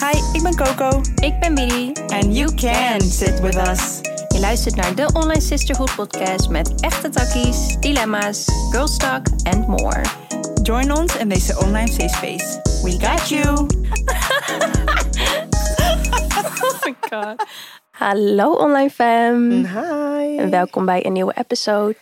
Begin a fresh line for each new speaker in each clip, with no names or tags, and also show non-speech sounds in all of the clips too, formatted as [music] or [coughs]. Hi, ik ben Coco.
Ik ben Bidi.
And you can sit with us.
Je luistert naar de Online Sisterhood podcast met echte takkies, dilemma's, girl talk and more.
Oh
Join ons in deze online safe space. We got you!
Oh my god. Hallo online fam.
Hi!
En welkom bij een nieuwe episode.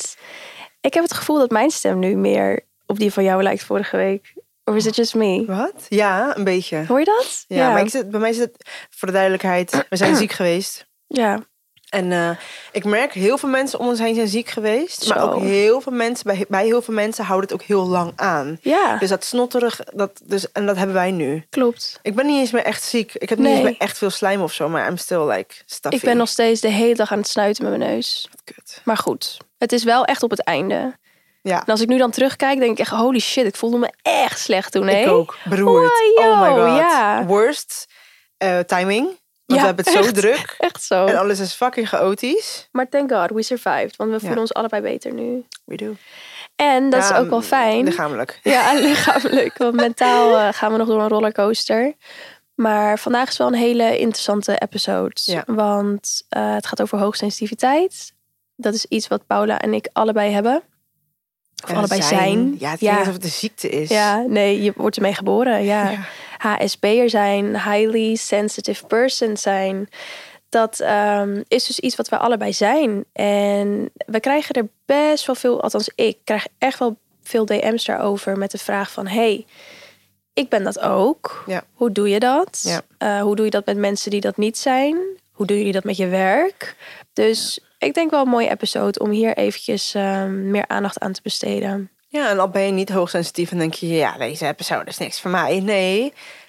Ik heb het gevoel dat mijn stem nu meer op die van jou lijkt vorige week. Of is het just me?
Wat? Ja, een beetje. Ja,
Hoor je dat?
maar ik zit, bij mij zit het, voor de duidelijkheid, we
[clears throat]
zijn ziek geweest.
ja.
En eh, ik merk, heel veel mensen om ons heen zijn ziek geweest. Maar
Zo.
ook heel veel mensen, bij, bij heel veel mensen houdt het ook heel lang aan.
Ja,
Dus dat snotterig, dat, dus, en dat hebben wij nu.
klopt.
Ik ben niet eens meer echt ziek. Ik heb niet
Nee.
eens meer echt veel slijm of zo, maar I'm still like stuffy.
Ik ben nog steeds de hele dag aan het snuiten met mijn neus.
Kut.
Maar goed, het is wel echt op het einde.
Ja,
En als ik nu dan terugkijk, denk ik echt, holy shit, ik voelde me echt slecht toen, hè?
ik ook. Beroerd.
Wow,
oh my
yo,
god.
ja.
Worst eh, timing. Want
Ja,
we hebben het zo
echt. Oh.
druk.
Echt zo.
En alles is fucking chaotisch.
Maar thank god, we survived. Want we voelen ons allebei beter nu.
We do.
En dat
Ja,
is ook wel fijn.
Ehm, Lichamelijk.
Ja, [laughs] lichamelijk. Want mentaal eh, gaan we nog door een rollercoaster. Maar vandaag is wel een hele interessante episode.
Ja.
Want eh, het gaat over hoogsensitiviteit. Dat is iets wat Paula en ik allebei hebben. Of
Ja,
allebei zijn.
Ja, het
Ja.
klinkt alsof het een ziekte is.
Ja, nee, je wordt ermee geboren. Ja. HSB'er zijn, highly sensitive person zijn. Dat ehm, is dus iets wat wij allebei zijn. En we krijgen er best wel veel, althans ik krijg echt wel veel DM's daarover met de vraag van... hey, ik ben dat ook.
Ja.
Hoe doe je dat?
Ja.
Eh, hoe doe je dat met mensen die dat niet zijn? Hoe doen jullie dat met je werk? Dus ik denk wel een mooie episode om hier eventjes ehm, meer aandacht aan te besteden.
Ja, en al ben je niet hoogsensitief en denk je, ja, deze episode is niks voor mij. Nee,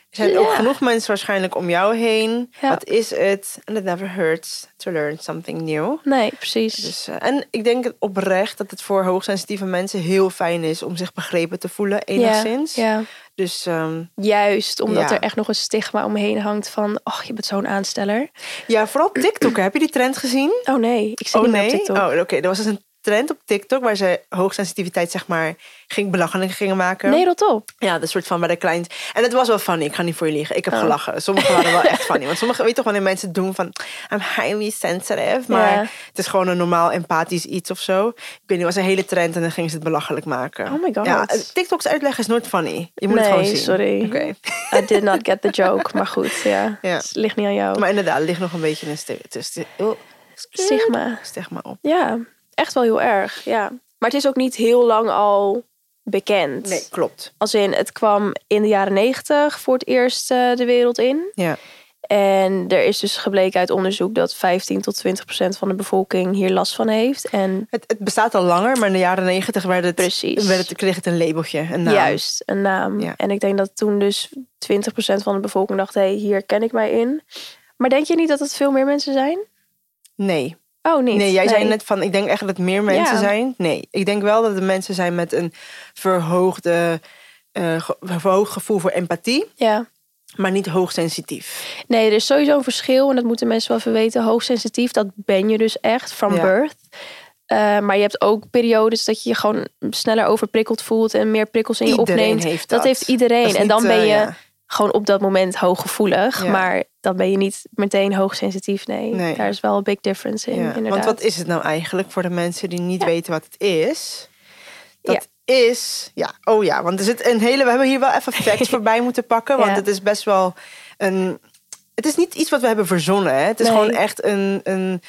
er zijn ook
Ja.
genoeg mensen waarschijnlijk om jou heen.
Ja.
Wat is het? And it never hurts to learn something new.
Nee, precies.
Dus, eh, en ik denk het oprecht dat het voor hoogsensitieve mensen heel fijn is om zich begrepen te voelen, enigszins.
Ja, ja.
Dus ehm,
Juist, omdat
Ja.
er echt nog een stigma omheen hangt van... oh, je bent zo'n aansteller.
ja, vooral TikTok. hè? Heb je die trend gezien?
Oh nee, ik zit
oh
niet
nee?
meer op TikTok.
Oh, oké. Er was dus een trend op TikTok waar ze hoogsensitiviteit, zeg maar, ging belachelijk gingen maken.
nee, rot op.
Ja, de soort van bij de klein. En het was wel funny, ik ga niet voor je liegen. Ik
Oh.
heb gelachen. Sommigen waren wel
[laughs]
echt funny. Want sommigen, weet je toch wanneer mensen het doen van... I'm highly sensitive. Maar
Ja.
het is gewoon een normaal empathisch iets of zo. Ik weet niet, het was een hele trend en dan gingen ze het belachelijk maken.
Oh my god.
Ja, TikToks uitleg is nooit funny. Je moet het
Nee,
gewoon zien.
sorry.
[laughs] Oké.
[laughs] I did not get the joke, maar goed, ja.
[laughs] Ja.
Het ligt niet aan jou.
Maar inderdaad, er ligt nog een beetje een sti- sti- sti- oh,
Stigma.
stigma op.
Ja, echt wel heel erg, ja. Maar het is ook niet heel lang al bekend.
Nee, klopt.
Als in, het kwam in de jaren negentig voor het eerst eh, de wereld in.
Ja.
En er is dus gebleken uit onderzoek dat 15 tot 20 procent van de bevolking hier last van heeft. En
Het, het bestaat al langer, maar in de jaren negentig werd het,
Precies.
werd het, kreeg het een labeltje. Een naam.
Juist, een naam.
Nou, Ja.
En ik denk dat toen dus 20% van de bevolking dacht, hé, hey, hier ken ik mij in. Maar denk je niet dat het veel meer mensen zijn?
Nee,
Oh, niet.
Nee, jij zei net van, ik denk echt dat het meer mensen
Ja.
zijn. Nee, ik denk wel dat er mensen zijn met een verhoogde, eh, ge- verhoogd gevoel voor empathie,
Ja.
maar niet hoogsensitief.
Nee, er is sowieso een verschil en dat moeten mensen wel even weten. Hoogsensitief, dat ben je dus echt, from
Ja.
birth. Eh, maar je hebt ook periodes dat je je gewoon sneller overprikkeld voelt en meer prikkels in je
Iedereen
opneemt.
heeft
dat
dat.
heeft iedereen.
Dat is
en
niet,
dan ben
eh,
je
ja.
gewoon op dat moment hooggevoelig.
Ja.
Maar dan ben je niet meteen hoogsensitief. Nee,
Nee.
daar is wel een big difference in.
Ja,
Inderdaad.
Want wat is het nou eigenlijk voor de mensen die niet weten wat het is? Dat is, ja, oh ja, want er zit een hele, we hebben hier wel even
[laughs]
facts voorbij moeten pakken, want
Ja.
het is best wel een, het is niet iets wat we hebben verzonnen, hè? het is
Nee.
gewoon echt een, een,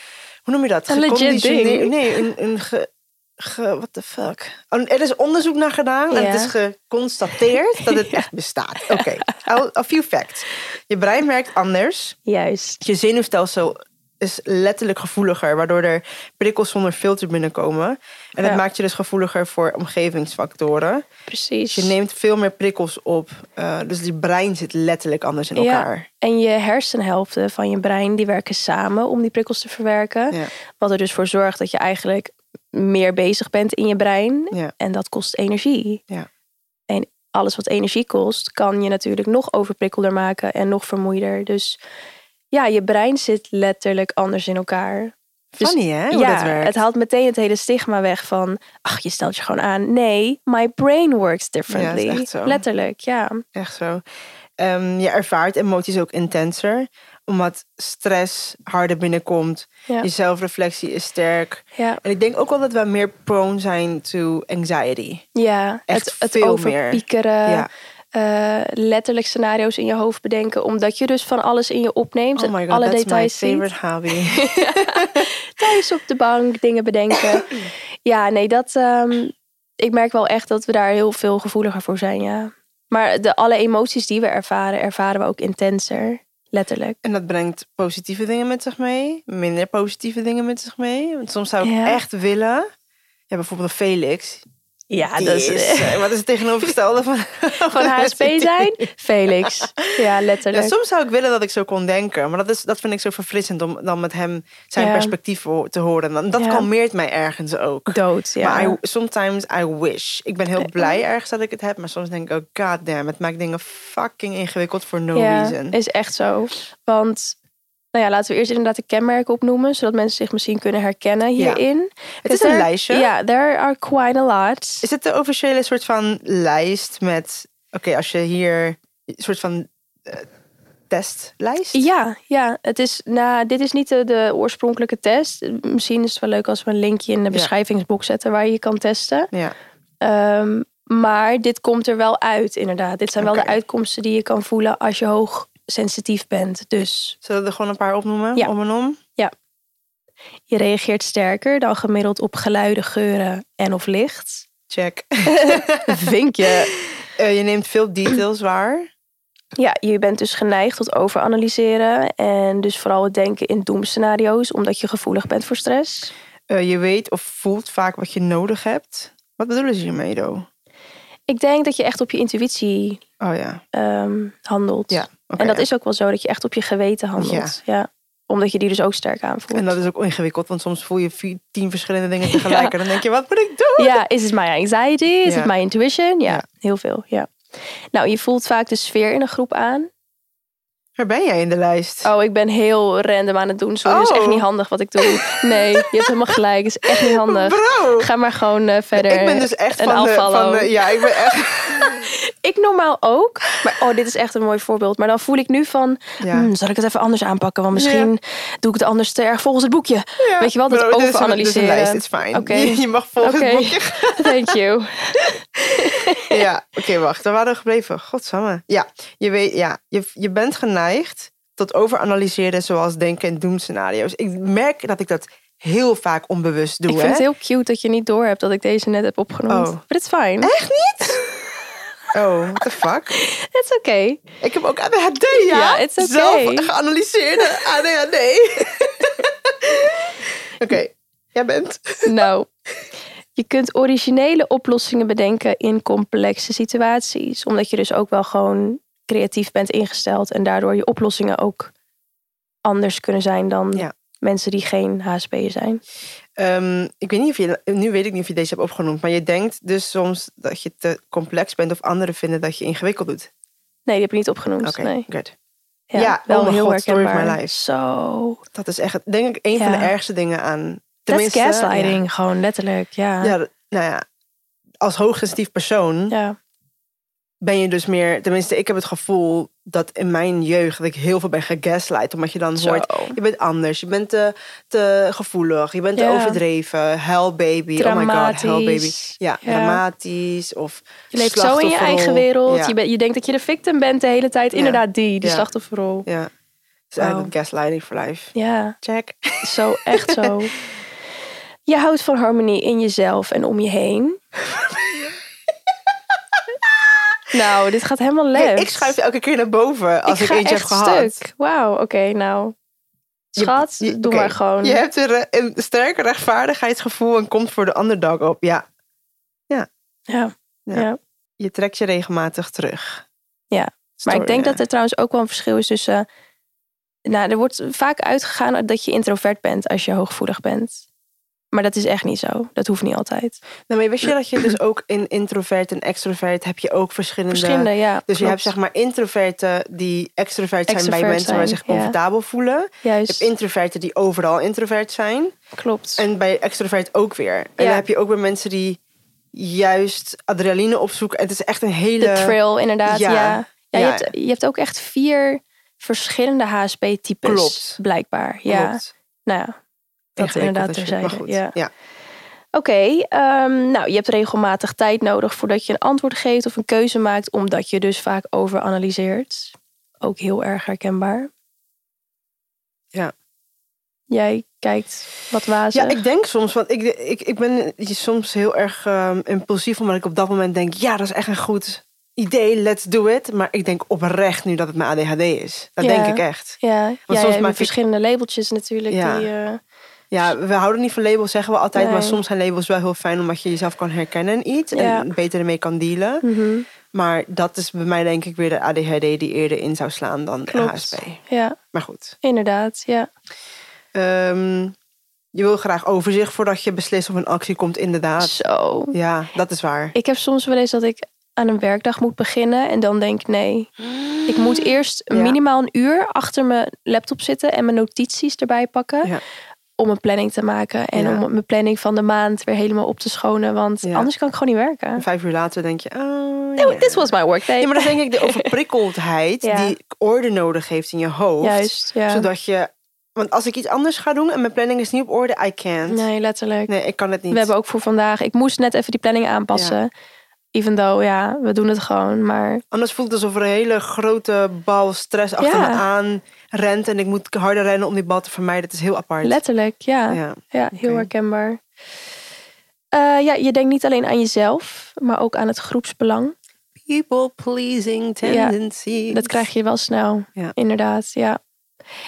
hoe noem je dat?
Een legit
Geconditioneer-
ding.
Nee, een, een ge, ge, what the fuck? Een- Er is onderzoek naar gedaan en
Ja.
het is
[laughs]
geconstateerd dat het echt bestaat. Oké, a- a few facts. Je brein werkt anders.
Juist.
Je zenuwstelsel is letterlijk gevoeliger, waardoor er prikkels zonder filter binnenkomen. En
Ja.
dat maakt je dus gevoeliger voor omgevingsfactoren.
Precies.
Dus Je neemt veel meer prikkels op, eh, dus je brein zit letterlijk anders in elkaar.
Ja, en je hersenhelften van je brein die werken samen om die prikkels te verwerken.
Ja.
Wat er dus voor zorgt dat je eigenlijk meer bezig bent in je brein.
Ja.
En dat kost energie.
Ja.
En alles wat energie kost, kan je natuurlijk nog overprikkelder maken en nog vermoeider. Dus ja, je brein zit letterlijk anders in elkaar. Dus-
Funny hè, hoe
ja,
dat werkt.
het haalt meteen het hele stigma weg van, ach, je stelt je gewoon aan. Nee, my brain works differently.
echt zo.
Letterlijk, ja.
Echt zo. Ehm, je ervaart emoties ook intenser, omdat stress harder binnenkomt.
Ja.
Je zelfreflectie is sterk.
Ja,
En ik denk ook wel dat we meer prone zijn to anxiety.
ja.
Echt
het, het
veel meer.
overpiekeren.
Ja.
eh, letterlijk scenario's in je hoofd bedenken. Omdat je dus van alles in je opneemt.
Oh my
en
god,
alle
that's
details
my
ziet.
favorite hobby.
thuis op de bank dingen
[coughs]
bedenken. ja, nee, dat. ehm, ik merk wel echt dat we daar heel veel gevoeliger voor zijn, ja. Maar de, alle emoties die we ervaren, ervaren we ook intenser. Letterlijk.
en dat brengt positieve dingen met zich mee, minder positieve dingen met zich mee. Want soms zou ik
Ja.
echt willen, ja, bijvoorbeeld een Felix.
Ja,
Die
dus
is, eh, wat is het tegenovergestelde van,
[laughs]
[laughs]
van HSP zijn? Felix. Ja,
Ja,
letterlijk.
soms zou ik willen dat ik zo kon denken, maar dat, is, dat vind ik zo verfrissend om dan met hem zijn
Ja.
perspectief ho- te horen. Dan- Dat
Ja.
kalmeert mij ergens ook.
Dood, ja. Eh,
Maar I, sometimes I wish. Ik ben heel blij ergens dat ik het heb, maar soms denk ik ook, god damn, het maakt dingen fucking ingewikkeld voor no
ja,
reason.
is echt zo. Want, nou ja, laten we eerst inderdaad de kenmerken opnoemen, zodat mensen zich misschien kunnen herkennen hierin.
Het is
Dus
een
there-
lijstje.
Ja, there are quite a lot.
Is het de officiële soort van lijst met, oké, als je hier een soort van eh, testlijst?
Ja, ja. Het is, nou, dit is niet de, de oorspronkelijke test. Misschien is het wel leuk als we een linkje in de
Ja.
beschrijvingsbox zetten waar je je kan testen.
Ja.
Ehm, maar dit komt er wel uit, inderdaad. Dit zijn wel
Oké.
de uitkomsten die je kan voelen als je hoog sensitief bent. Dus
Zullen we er gewoon een paar opnoemen,
Ja.
om en om?
je reageert sterker dan gemiddeld op geluiden, geuren en of licht.
Check. [laughs]
Vinkje.
Eh, je neemt veel details waar.
Ja, je bent dus geneigd tot overanalyseren en dus vooral het denken in doemscenario's, omdat je gevoelig bent voor stress.
Eh, je weet of voelt vaak wat je nodig hebt. Wat bedoelen ze hiermee, Do?
Ik denk dat je echt op je intuïtie
Oh ja.
ehm, handelt.
ja oké,
en dat
ja.
is ook wel zo dat je echt op je geweten handelt. Ja. Omdat je die dus ook sterk aanvoelt.
en dat is ook ingewikkeld, want soms voel je vier, tien verschillende
[laughs]
dingen tegelijk. En dan denk je, wat moet ik doen?
Ja, is het my anxiety? Is
Ja.
het my intuition? Ja,
Ja.
heel veel. Ja. Nou, je voelt vaak de sfeer in een groep aan.
Waar ben jij in de lijst?
Oh, ik ben heel random aan het doen. Sorry, het is echt
Oh.
niet handig wat ik doe. Nee, je hebt helemaal gelijk. Het is echt niet
[laughs]
handig.
Bro!
Ga maar gewoon eh, verder.
ik ben dus echt
een
van de, van
unfollow.
de... Ja, ik ben
[laughs]
echt...
Ik normaal ook. Maar oh, dit is echt een mooi voorbeeld. Maar dan voel ik nu van,
Ja.
hmm, zal ik het even anders aanpakken? Want misschien doe ik het anders te erg volgens het boekje.
Ja,
Weet je wel, dat
bro, dit is een-
overanalyseren.
Dit is een lijst, it's fine.
Oké.
Je, je mag volgens
Oké.
het
[laughs]
boekje.
Thank you.
Ja, oké, wacht. Daar waren we gebleven. Godsamme. Ja, je, weet, ja je, je bent geneigd tot overanalyseren zoals denken en doemscenario's. Ik merk dat ik dat heel vaak onbewust doe.
ik vind het
hè?
heel cute dat je niet door hebt dat ik deze net heb opgenomen.
Oh.
Maar it's fine.
Echt niet? Oh, what the fuck? [laughs]
It's okay.
Ik heb ook ADHD, ja?
Ja, it's okay.
Zelf geanalyseerde ADHD. [laughs] Oké, jij bent...
Nou, je kunt originele oplossingen bedenken in complexe situaties. Omdat je dus ook wel gewoon creatief bent ingesteld. En daardoor je oplossingen ook anders kunnen zijn dan
Ja.
mensen die geen HSP'er zijn.
Ehm, ik weet niet of je... Nu weet ik niet of je deze hebt opgenoemd. Maar je denkt dus soms dat je te complex bent... of anderen vinden dat je ingewikkeld doet.
Nee, die heb ik niet opgenoemd.
Oké,
Nee.
good. Ja, oh mijn God, story of my life.
Zo.
Dat is echt, denk ik, een van
Ja.
de ergste dingen aan...
Dat is
Tenminste, ja.
gaslighting, gewoon letterlijk. Ja.
Ja, dat- nou ja. Als hoogsensitief persoon...
ja.
ben je dus meer, tenminste, ik heb het gevoel dat in mijn jeugd dat ik heel veel ben gegaslight. Omdat je dan
Zo.
hoort, je bent anders, je bent te, te gevoelig, je bent te
Ja.
overdreven. Hell baby, oh my god, hell baby.
Dramatisch.
Ja,
Ja.
dramatisch of
Je leeft zo in je
slachtofferrol.
eigen wereld.
Ja,
Je, bent- je denkt dat je de victim bent de hele tijd.
Ja.
Inderdaad, die, die
Ja.
slachtofferrol.
ja. Dus
Wauw.
eigenlijk gaslighting for life.
Ja,
Check.
zo, echt zo.
[laughs]
Je houdt van harmonie in jezelf en om je
[laughs]
heen. nou, dit gaat helemaal leuk.
Nee, ik schuif je elke keer naar boven als ik,
ga
eentje
echt
heb gehad.
stuk. Wauw, oké, nou.
Je-
Schat,
je-
doe
oké,
maar gewoon.
Je hebt er eh, een sterke rechtvaardigheidsgevoel en komt voor de underdog op. Ja,
Ja.
Ja.
Ja.
je trekt je regelmatig terug.
Ja, Maar ik
Story,
denk
ja.
dat er trouwens ook wel een verschil is tussen... Nou, er wordt vaak uitgegaan dat je introvert bent als je hooggevoelig bent. Maar dat is echt niet zo. Dat hoeft niet altijd.
Nou, maar wist je dat je dus ook in introvert en extrovert heb je ook verschillende...
Verschillende, ja.
dus je
klopt.
hebt zeg maar introverten die extrovert zijn bij
Extrovert
mensen waar ze
zijn,
zich
ja.
comfortabel voelen. Je hebt
Juist,
introverten die overal introvert zijn.
klopt.
En bij extrovert ook weer. En
Ja.
dan heb je ook weer mensen die juist adrenaline opzoeken. En het is echt een hele...
de trail inderdaad,
Ja.
ja. Ja,
Ja,
je, hebt, je hebt ook echt vier verschillende HSP-types.
Klopt.
Blijkbaar. Ja.
Klopt.
Nou ja, dat
Ingewikkeld
inderdaad
als je-
terzijde.
Maar goed,
Ja.
ja.
Oké, ehm, nou je hebt regelmatig tijd nodig voordat je een antwoord geeft of een keuze maakt, omdat je dus vaak overanalyseert. Ook heel erg herkenbaar.
Ja.
Jij kijkt wat wazig.
Ja, ik denk soms, want ik, ik, ik ben soms heel erg ehm, impulsief, omdat ik op dat moment denk, ja, dat is echt een goed idee, let's do it. Maar ik denk oprecht nu dat het mijn ADHD is. Dat
Ja.
denk ik echt.
ja, ja,
soms
ja,
maak
met
ik-
verschillende labeltjes natuurlijk.
Ja.
Die, eh,
Ja, we houden niet van labels, zeggen we altijd, maar
Nee.
soms zijn labels wel heel fijn, omdat je jezelf kan herkennen in iets
Ja.
en beter ermee kan dealen.
mhm,
Maar dat is bij mij denk ik weer de ADHD die eerder in zou slaan dan de
Klopt.
HSP.
ja,
Maar goed.
inderdaad. Ja.
Ehm, je wil graag overzicht voordat je beslist of een actie komt, inderdaad.
Zo.
Ja, dat is waar.
Ik heb soms wel eens dat ik aan een werkdag moet beginnen en dan denk ik nee. Ik moet eerst
Mm. Ja.
minimaal een uur achter mijn laptop zitten en mijn notities erbij pakken.
Ja.
Om een planning te maken en
Ja.
om mijn planning van de maand weer helemaal op te schonen. Want
Ja.
anders kan ik gewoon niet werken.
En vijf uur later denk je, oh,
No,
ja.
this was my workday.
Ja, maar dat is denk ik
[laughs]
de overprikkeldheid
Ja.
die orde nodig heeft in je hoofd.
Juist, ja.
Zodat je... Want als ik iets anders ga doen en mijn planning is niet op orde, I can't.
Nee, letterlijk.
Nee, ik kan het niet.
We hebben ook voor vandaag, ik moest net even die planning aanpassen. Even though, ja, we doen het gewoon. Maar
Anders voelt het alsof er een hele grote bal stress achter
Ja.
me aan rent. En ik moet harder rennen om die bal te vermijden. Het is heel apart.
letterlijk, ja.
Ja.
Ja, heel
Oké.
herkenbaar. Eh, ja, je denkt niet alleen aan jezelf, maar ook aan het groepsbelang.
People pleasing tendency.
Dat krijg je wel snel,
Ja.
inderdaad. Ja.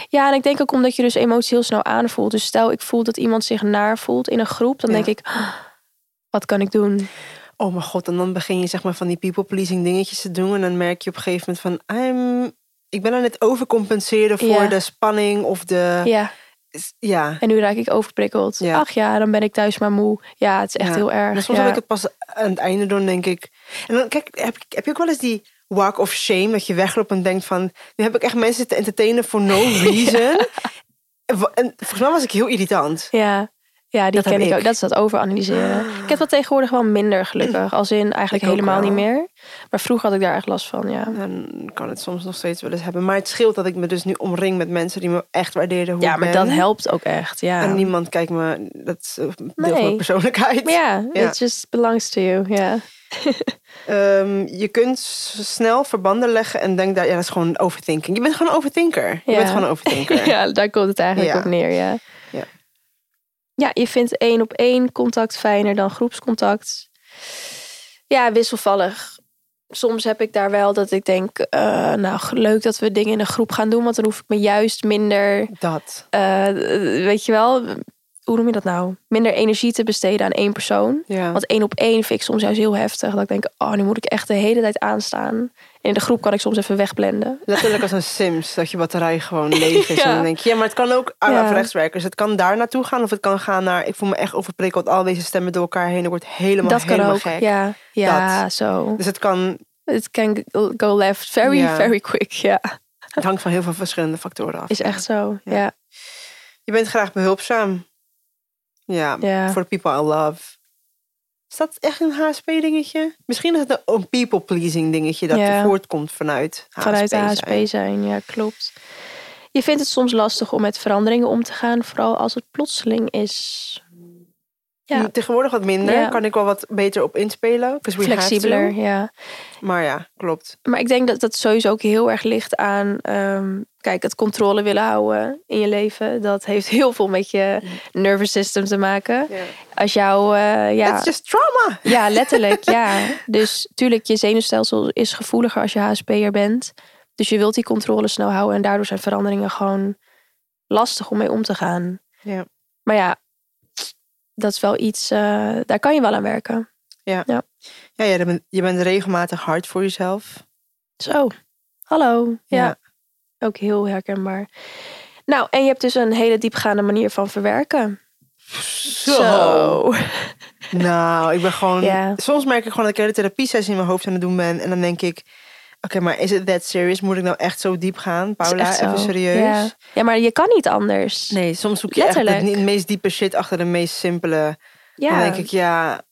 ja, en ik denk ook omdat je dus emotie heel snel aanvoelt. Dus stel ik voel dat iemand zich naar voelt in een groep, dan
Ja.
denk ik, "Ah, wat kan ik doen?
Oh mijn god, en dan begin je zeg maar van die people pleasing dingetjes te doen. En dan merk je op een gegeven moment van... I'm, ik ben aan het overcompenseren voor
Ja.
de spanning of de...
Ja,
Ja.
en nu raak ik overprikkeld.
Ja.
Ach ja, dan ben ik thuis maar moe. Ja, het is echt
Ja.
heel
Maar
erg.
soms
ja.
wil ik het pas aan het einde doen, denk ik. En dan, kijk, heb, ik- heb je ook wel eens die walk of shame... dat je wegloopt en denkt van... nu heb ik echt mensen te entertainen for
[laughs]
no reason. En wa- En volgens mij was ik heel irritant.
Ja. Ja, die
Dat heb
ken ik
ik.
ook. Dat is dat overanalyseren. Ik heb dat tegenwoordig wel minder gelukkig. Als in eigenlijk
Ik ook
helemaal
wel.
niet meer. Maar vroeger had ik daar echt last van, ja.
Dan kan het soms nog steeds wel eens hebben. Maar het scheelt dat ik me dus nu omring met mensen die me echt waarderen hoe
Ja,
ik
maar
ben.
dat helpt ook echt, ja.
En niemand kijkt me... Dat is een deel van
Nee.
mijn persoonlijkheid.
Maar ja,
Ja.
it just belongs to you, ja.
Ehm, je kunt s- snel verbanden leggen en denkt... daar- Ja, dat is gewoon overthinking. Je bent gewoon een overthinker. Je
Ja.
bent gewoon een overthinker.
[laughs] ja, daar komt het eigenlijk
Ja.
op neer, ja.
Ja.
Ja, je vindt één op één contact fijner dan groepscontact. Ja, wisselvallig. Soms heb ik daar wel dat ik denk, eh, nou g- leuk dat we dingen in een groep gaan doen, want dan hoef ik me juist minder
Dat.
eh, weet je wel, hoe noem je dat nou? Minder energie te besteden aan één persoon.
Ja.
Want één op één vind ik soms juist heel heftig. Dat ik denk, oh, nu moet ik echt de hele tijd aanstaan. En in de groep kan ik soms even wegblenden.
Letterlijk als een Sims, dat je batterij
[laughs]
gewoon leeg is.
Ja.
En dan denk je, ja, maar het kan ook aan
Ja.
rechtswerkers. Het kan daar naartoe gaan of het kan gaan naar... Ik voel me echt overprikkeld, al deze stemmen door elkaar heen. Ik word helemaal,
dat kan
helemaal
ook.
gek.
Ja, ja
Dat.
zo.
Dus het kan...
It can go left very,
Ja.
very quick. Ja,
Het hangt van heel veel verschillende factoren af.
is echt zo.
Ja.
Ja, ja.
Je bent graag behulpzaam. Ja, voor de people I love. Is dat echt een HSP-dingetje? Misschien is het een- een people-pleasing dingetje dat
Ja.
voortkomt vanuit HSP.
vanuit de
zijn.
HSP zijn. Ja, klopt. Je vindt het soms lastig om met veranderingen om te gaan. Vooral als het plotseling is. Ja.
Tegenwoordig wat minder.
Ja.
Kan ik wel wat beter op inspelen. 'cause we have to.
Flexibeler, ja.
Maar ja, klopt.
Maar ik denk dat dat sowieso ook heel erg ligt aan, ehm, kijk, het controle willen houden in je leven. Dat heeft heel veel met je nervous system te maken. Als jouw, eh, ja,
It's just trauma.
ja, letterlijk, ja. Dus tuurlijk, je zenuwstelsel is gevoeliger als je HSP'er bent. Dus je wilt die controle snel houden en daardoor zijn veranderingen gewoon lastig om mee om te gaan.
Ja.
Maar ja, dat is wel iets, eh, daar kan je wel aan werken.
Ja, ja, je bent- je bent regelmatig hard voor jezelf.
Zo, hallo. ja.
Ja.
Ook heel herkenbaar. Nou, en je hebt dus een hele diepgaande manier van verwerken.
Nou, ik ben gewoon...
Ja.
Soms merk ik gewoon dat ik hele therapiesessie in mijn hoofd aan het doen ben. En dan denk ik... Oké, maar is it that serious? Moet ik nou echt zo diep gaan?
Dat is
Paula,
echt zo.
even serieus?
Ja. ja, maar je kan niet anders.
Nee, soms zoek je echt het
Letterlijk.
ni- meest diepe shit achter de meest simpele. Dan
ja.
denk ik, ja...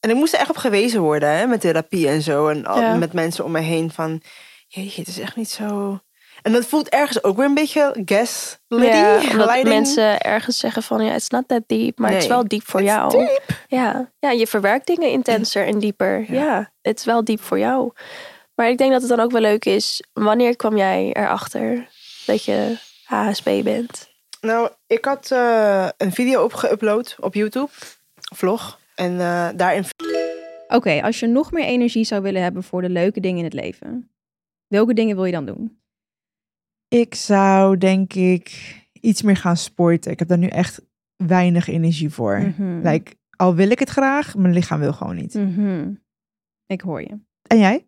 En ik moest er echt op gewezen worden, hè, met therapie en zo. En al-
Ja.
met mensen om me heen van... Jeetje, het is echt niet zo... En dat voelt ergens ook weer een beetje gaslighting.
Ja, omdat
leiding.
mensen ergens zeggen van ja, it's not that deep, maar het is
Nee.
wel diep voor
It's
jou.
deep.
Ja. ja, je verwerkt dingen intenser en dieper. Ja. het is wel diep voor jou. Maar ik denk dat het dan ook wel leuk is. Wanneer kwam jij erachter dat je HSP bent?
Nou, ik had eh, een video opgeüpload op YouTube. Vlog. En eh, daarin
Oké, als je nog meer energie zou willen hebben voor de leuke dingen in het leven, welke dingen wil je dan doen?
Ik zou denk ik iets meer gaan sporten. Ik heb daar nu echt weinig energie voor.
Mhm.
Like, al wil ik het graag, mijn lichaam wil gewoon niet.
Mhm. Ik hoor je.
En jij?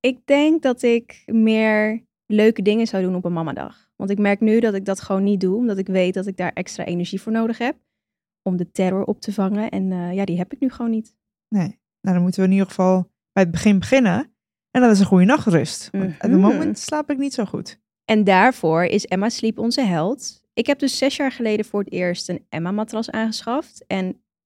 Ik denk dat ik meer leuke dingen zou doen op een mamadag. Want ik merk nu dat ik dat gewoon niet doe, omdat ik weet dat ik daar extra energie voor nodig heb om de terror op te vangen. En eh, ja, die heb ik nu gewoon niet.
Nee. Nou, dan moeten we in ieder geval bij het begin beginnen. En dat is een goede nachtrust. Want Op het
Mhm.
moment slaap ik niet zo goed.
En daarvoor is Emma Sleep onze held. Ik heb dus zes jaar geleden voor het eerst een Emma-matras aangeschaft. En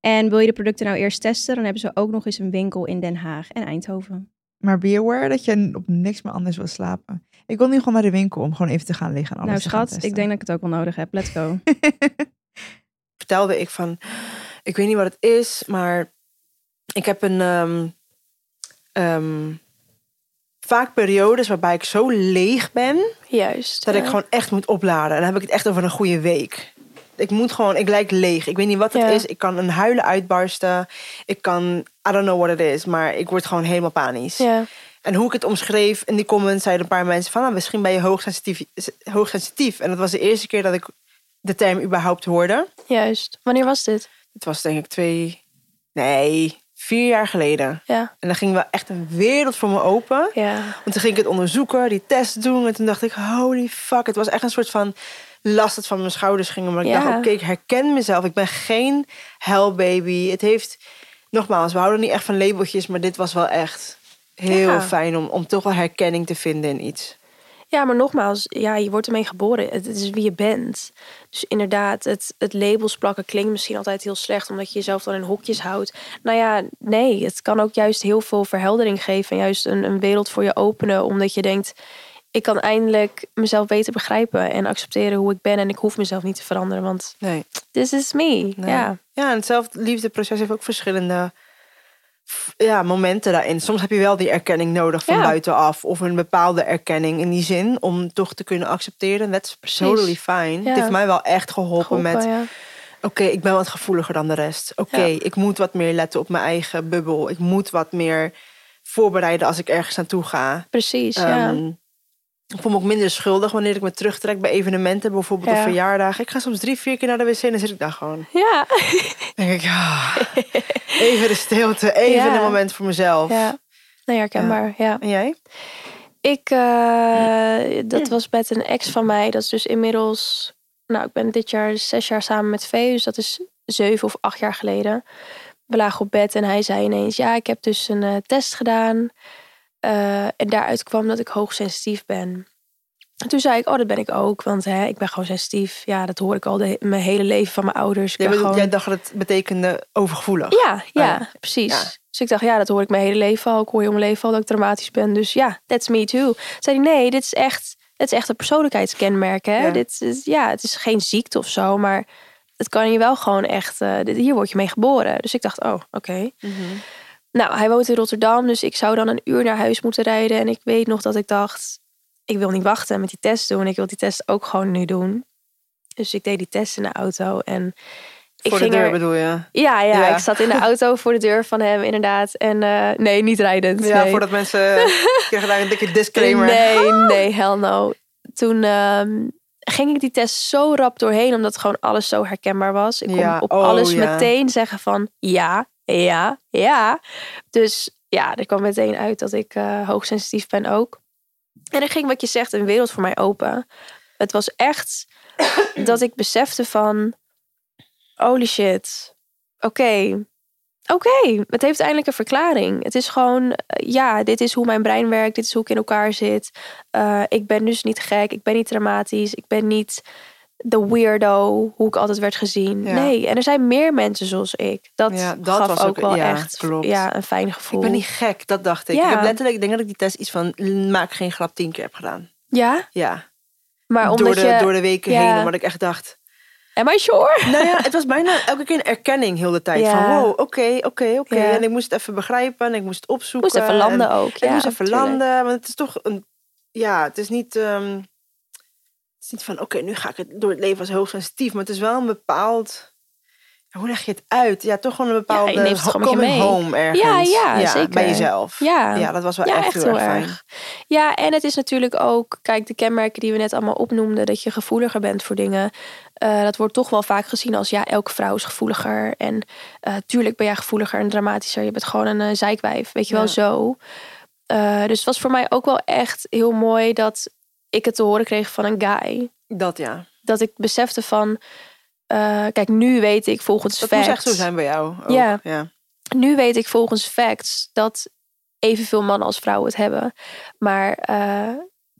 En wil je de producten nou eerst testen, dan hebben ze ook nog eens een winkel in Den Haag en
Oh,
Eindhoven.
Maar be aware dat je op niks meer anders wil slapen. Ik wil nu gewoon naar de winkel om gewoon even te gaan liggen. En alles
nou
te gaan
schat, ik denk dat ik het ook wel nodig heb. Let's go. [laughs]
testen.
vertelde ik van, ik weet niet wat het is, maar ik heb een ehm, ehm, vaak periodes waarbij ik zo leeg ben
Juist.
dat
ja.
ik gewoon echt moet opladen. En dan heb ik het echt over een goede week. Ik moet gewoon, ik lijk leeg. Ik weet niet wat het
Ja.
is. Ik kan een huilen uitbarsten. Ik kan, I don't know what it is, maar ik word gewoon helemaal panisch.
Ja.
En hoe ik het omschreef in die comments zeiden een paar mensen van, nou, misschien ben je hoogsensitief, hoogsensitief. En dat was de eerste keer dat ik de term überhaupt hoorde.
Juist. Wanneer was dit?
Het was denk ik twee, nee, vier jaar geleden.
Ja.
En dan ging wel echt een wereld voor me open.
Ja.
Want toen ging ik het onderzoeken, die test doen. En toen dacht ik, holy fuck. Het was echt een soort van last dat van mijn schouders ging. Maar ik
Ja.
dacht, oké, ik herken mezelf. Ik ben geen hellbaby. Het heeft, nogmaals, we houden niet echt van labeltjes. Maar dit was wel echt heel
Ja.
fijn om, om toch wel herkenning te vinden in iets.
Ja, maar nogmaals, ja, je wordt ermee geboren. Het, het is wie je bent. Dus inderdaad, het, het labels plakken klinkt misschien altijd heel slecht, omdat je jezelf dan in hokjes houdt. Nou ja, nee, het kan ook juist heel veel verheldering geven. En juist een, een wereld voor je openen, omdat je denkt: ik kan eindelijk mezelf beter begrijpen en accepteren hoe ik ben. En ik hoef mezelf niet te veranderen, want
Nee.
this is me.
Nee.
Ja,
Ja, en hetzelfde liefdeproces heeft ook verschillende f- ja, momenten daarin. Soms heb je wel die erkenning nodig van
Ja.
buitenaf. Of een bepaalde erkenning in die zin. Om toch te kunnen accepteren. That's totally fine.
Ja.
Het heeft mij wel echt geholpen, met...
Groepen,
Oké,
ja.
ik ben wat gevoeliger dan de rest. Oké,
Ja.
ik moet wat meer letten op mijn eigen bubbel. Ik moet wat meer voorbereiden als ik ergens naartoe ga.
precies. ja.
Ehm, ik voel me ook minder schuldig wanneer ik me terugtrek bij evenementen. Bijvoorbeeld
Ja.
op verjaardagen. Ik ga soms drie, vier keer naar de wc en dan zit ik daar gewoon
Ja.
denk ik,
[laughs]
ja, even de stilte, even
Ja.
een moment voor mezelf.
ja. Nee, herkenbaar. Ja.
En jij?
Ik, eh, dat was met een ex van mij. Dat is dus inmiddels, nou, ik ben dit jaar zes jaar samen met Vee. Dus dat is zeven of acht jaar geleden. We lagen op bed en hij zei ineens, ja, ik heb dus een eh, test gedaan. Eh, en daaruit kwam dat ik hoogsensitief ben. En toen zei ik, oh, dat ben ik ook. Want hè, ik ben gewoon sensitief. Ja, dat hoor ik al de, mijn hele leven van mijn ouders. Ik
Jij,
ben
bedoelt-
gewoon...
jij dacht dat het betekende overgevoelig.
Ja, ja,
Ah, ja.
precies.
Ja.
Dus ik dacht, ja, dat hoor ik mijn hele leven al. Ik hoor heel mijn leven al dat ik dramatisch ben. Dus ja, that's me too. Toen Zei hij, nee, dit is echt, dit is echt een persoonlijkheidskenmerk. Hè?
Ja.
Dit is, ja, het is geen ziekte of zo, maar het kan je wel gewoon echt... eh, dit, hier word je mee geboren. Dus ik dacht, oh, oké.
Mhm.
Nou, hij woont in Rotterdam, dus ik zou dan een uur naar huis moeten rijden. En ik weet nog dat ik dacht, ik wil niet wachten met die test doen. Ik wil die test ook gewoon nu doen. Dus ik deed die test in de auto en... Ik
Voor de
ging
deur
er,
bedoel je?
ja, ja,
Ja.
ik zat in de auto voor de deur van hem, inderdaad. En eh, nee, niet rijdend.
Ja,
nee.
voordat mensen
[laughs]
krijgen daar een dikke disclaimer. Oh.
Nee, nee, hell no. Toen ehm, ging ik die test zo rap doorheen, omdat gewoon alles zo herkenbaar was. Ik kon
Ja,
op
oh,
alles
ja.
meteen zeggen van ja, ja, ja. Dus ja, er kwam meteen uit dat ik eh, hoogsensitief ben ook. En er ging, wat je zegt, een wereld voor mij open. Het was echt dat ik besefte van... Holy shit. Oké. Oké, het heeft eindelijk een verklaring. Het is gewoon, eh, ja, dit is hoe mijn brein werkt. Dit is hoe ik in elkaar zit. Eh, ik ben dus niet gek. Ik ben niet dramatisch. Ik ben niet de weirdo hoe ik altijd werd gezien.
Ja.
Nee, en er zijn meer mensen zoals ik. Dat,
Ja, dat
gaf
was
ook,
ook-
wel
ja,
echt
klopt.
Ja, een fijn gevoel.
Ik ben niet gek, dat dacht ik.
Ja.
Ik heb letterlijk, ik denk dat ik die test iets van l- maak geen grap tien keer heb gedaan.
Ja,
Ja,
maar omdat
door de,
je...
door de weken
ja.
heen, omdat ik echt dacht...
Am I sure?
Nou ja, het was bijna elke keer een erkenning heel de tijd.
Ja.
Van wow, oké, oké, oké.
Ja.
En ik moest het even begrijpen en ik moest het
Ik
opzoeken.
moest even landen ook.
En,
ja,
ik moest even
tuurlijk.
landen, want het is toch een... Ja, het is niet... ehm, het is niet van, oké, nu ga ik het door het leven als hoogsensitief. Maar het is wel een bepaald... ja, Hoe leg je het uit? Ja, toch gewoon een bepaalde...
neemt het
ho-
gewoon met je
coming
mee.
home ergens.
ja, zeker.
Bij jezelf.
Ja.
ja, dat was wel
Ja,
echt, heel, erg fijn.
Ja, en het is natuurlijk ook, kijk, de kenmerken die we net allemaal opnoemden, dat je gevoeliger bent voor dingen. eh, dat wordt toch wel vaak gezien als ja, elke vrouw is gevoeliger. En eh, tuurlijk ben jij gevoeliger en dramatischer. Je bent gewoon een eh, zeikwijf, weet je wel
Ja.
zo. Eh, dus het was voor mij ook wel echt heel mooi dat ik het te horen kreeg van een guy.
Dat ja.
Dat ik besefte van, eh, kijk, nu weet ik volgens
Dat
facts.
moest echt zo zijn bij jou. Ook.
Ja.
Ja.
nu weet ik volgens facts dat evenveel mannen als vrouwen het hebben. Maar eh,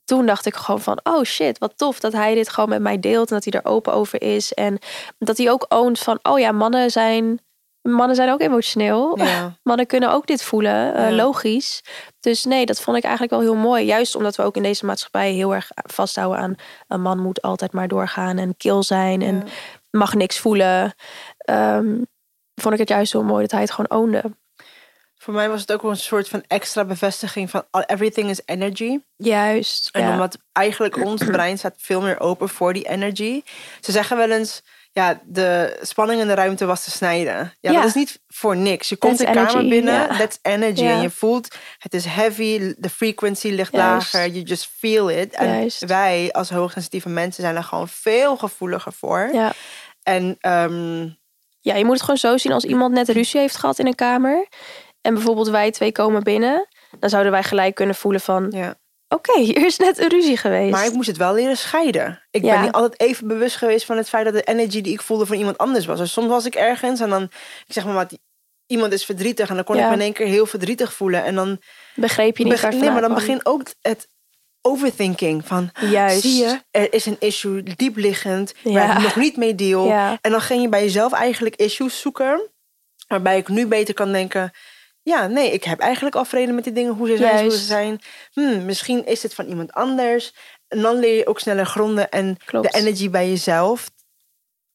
toen dacht ik gewoon van, oh shit, wat tof dat hij dit gewoon met mij deelt en dat hij er open over is. En dat hij ook oont van, oh ja, mannen zijn, mannen zijn ook emotioneel.
Ja.
Mannen kunnen ook dit voelen, eh,
Ja.
logisch. Dus nee, dat vond ik eigenlijk wel heel mooi. Juist omdat we ook in deze maatschappij heel erg vasthouden aan... een man moet altijd maar doorgaan en kil zijn en
Ja.
mag niks voelen. Ehm, vond ik het juist heel mooi dat hij het gewoon oonde.
Voor mij was het ook wel een soort van extra bevestiging van all- everything is energy.
Juist.
En
ja.
omdat eigenlijk ons
[clears throat]
brein staat veel meer open voor die energy. Ze zeggen wel eens, ja, de spanning in de ruimte was te snijden. Ja,
Ja.
dat is niet voor niks. Je komt
That's
de kamer
energy,
binnen,
ja.
that's energy.
Ja.
En je voelt, het is heavy, de frequency ligt
Juist.
lager. You just feel it. En
Juist.
wij als hoogsensitieve mensen zijn er gewoon veel gevoeliger voor.
ja.
En ehm,
ja, je moet het gewoon zo zien als iemand net ruzie heeft gehad in een kamer. En bijvoorbeeld wij twee komen binnen. Dan zouden wij gelijk kunnen voelen van...
ja.
Oké, hier is net een ruzie geweest.
Maar ik moest het wel leren scheiden. Ik
Ja.
ben niet altijd even bewust geweest van het feit dat de energy die ik voelde van iemand anders was. Dus soms was ik ergens en dan, ik zeg maar wat, iemand is verdrietig en dan kon
Ja.
ik me in één keer heel verdrietig voelen. En dan,
Begreep je niet waar
begin,
het
nee, maar dan
vandaan
begint ook het overthinking van,
kwam. Juist.
zie je, er is een issue diep liggend
Ja.
waar ik nog niet mee deal.
Ja.
En dan ging je bij jezelf eigenlijk issues zoeken, waarbij ik nu beter kan denken... Ja, nee, ik heb eigenlijk al vrede met die dingen, hoe ze zijn, hoe
Juist.
ze zijn. Hmm, misschien is het van iemand anders. En dan leer je ook sneller gronden en
Klopt.
de energy bij jezelf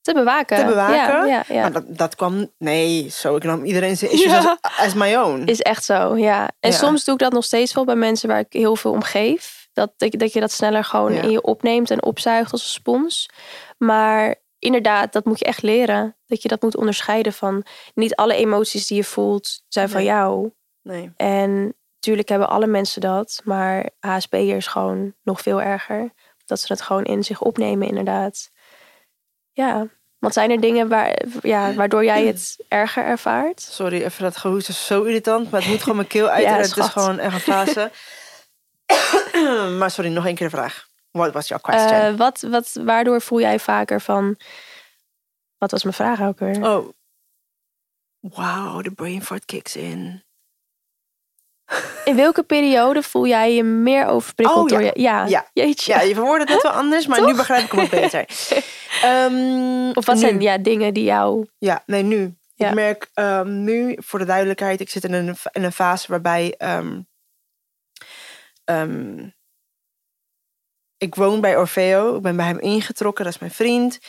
Te bewaken.
te bewaken.
Ja, ja, ja.
Maar dat, dat kwam, nee, zo, ik nam iedereen zijn issues
Ja.
as, as my own.
Is echt zo, ja. En
Ja.
soms doe ik dat nog steeds wel bij mensen waar ik heel veel om geef. Dat, dat, je- dat je dat sneller gewoon
Ja.
in je opneemt en opzuigt als een spons. Maar inderdaad, dat moet je echt leren. Dat je dat moet onderscheiden van niet alle emoties die je voelt zijn van
Nee.
jou.
nee.
En natuurlijk hebben alle mensen dat. Maar HSP'ers gewoon nog veel erger. Dat ze het gewoon in zich opnemen inderdaad. Ja, want zijn er dingen waar, ja, waardoor jij het erger ervaart?
Sorry, even dat gehoest is zo irritant, maar het moet gewoon mijn keel uit.
Ja,
en het
schat.
is gewoon echt een fase. [coughs] maar sorry, nog één keer de vraag. What was your question?
Eh, wat, wat, waardoor voel jij vaker van... Wat was mijn vraag ook weer?
Oh. Wow, de brain fart kicks in.
In welke periode voel jij je meer overprikkeld
Oh, ja.
door je... Ja,
Ja.
jeetje.
Ja, je verwoordt het net wel anders, maar nu begrijp ik hem ook [laughs] beter. Ehm,
Of wat
nu.
zijn ja, dingen die jou...
Ja, nee, nu.
Ja.
Ik merk ehm, nu, voor de duidelijkheid, ik zit in een, in een fase waarbij ehm, ehm, ik woon bij Orfeo. Ik ben bij hem ingetrokken, dat is mijn vriend.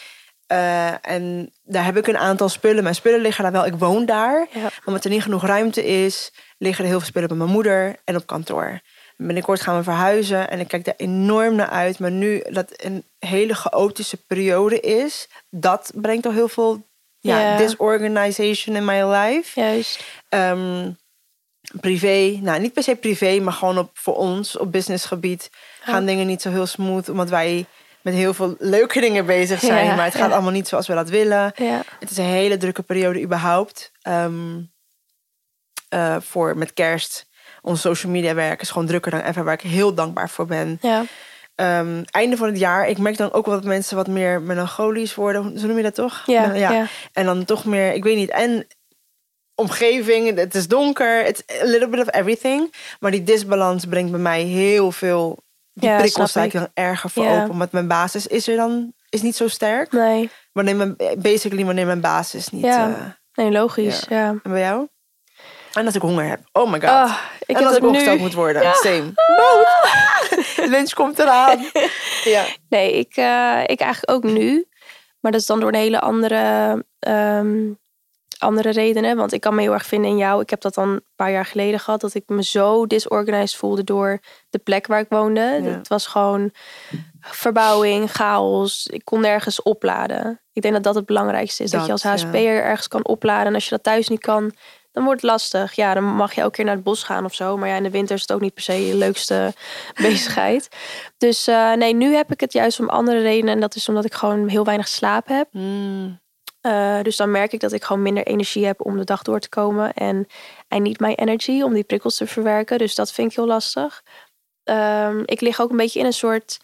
Eh, en daar heb ik een aantal spullen. Mijn spullen liggen daar wel. Ik woon daar.
Ja.
Maar omdat er niet genoeg ruimte is, liggen er heel veel spullen bij mijn moeder en op kantoor. En Binnenkort gaan we verhuizen en ik kijk daar enorm naar uit. Maar nu dat een hele chaotische periode is, dat brengt al heel veel ja,
Ja.
disorganization in my life.
Juist.
Ehm, privé, nou niet per se privé, maar gewoon op, voor ons op businessgebied gaan dingen niet zo heel smooth, omdat wij met heel veel leuke dingen bezig zijn.
Ja,
maar het gaat
ja.
allemaal niet zoals we dat willen.
Ja.
Het is een hele drukke periode überhaupt. Ehm, eh, voor met kerst. Ons social media werk is gewoon drukker dan ever, waar ik heel dankbaar voor ben.
Ja.
ehm, einde van het jaar. Ik merk dan ook wel dat mensen wat meer melancholisch worden. Zo noem je dat toch?
Ja,
Nou,
ja. ja.
En dan toch meer, ik weet niet. En omgeving, het is donker. It's a little bit of everything. Maar die disbalans brengt bij mij heel veel...
Ja,
Die
snap
prikkels sta ik
ik.
dan erger voor
Ja.
open. Want mijn basis is er dan is niet zo sterk.
Nee.
Wanneer mijn, basically wanneer mijn basis niet...
Ja.
eh,
nee, logisch. Ja.
en bij jou? En dat ik honger heb. Oh my god.
Ah, ik
en
heb
dat ik
dat
opgesteld
nu. Ah.
moet worden. Same. Both. [laughs] Lunch
[laughs]
komt eraan. ja.
Nee, ik, eh, ik eigenlijk ook nu. Maar dat is dan door een hele andere, ehm, andere redenen. Want ik kan me heel erg vinden in jou. Ik heb dat dan een paar jaar geleden gehad. Dat ik me zo disorganized voelde door de plek waar ik woonde.
Ja.
Het was gewoon verbouwing, chaos. Ik kon nergens opladen. Ik denk dat dat het belangrijkste is. Dat,
Dat,
je als
ja.
HSP'er ergens kan opladen. En als je dat thuis niet kan, dan wordt het lastig. Ja, dan mag je elke keer naar het bos gaan of zo. Maar ja, in de winter is het ook niet per se je leukste [laughs] bezigheid. Dus eh, nee, nu heb ik het juist om andere redenen. En dat is omdat ik gewoon heel weinig slaap heb. Eh, dus dan merk ik dat ik gewoon minder energie heb om de dag door te komen. En I need my energy om die prikkels te verwerken. Dus dat vind ik heel lastig. Ehm, ik lig ook een beetje in een soort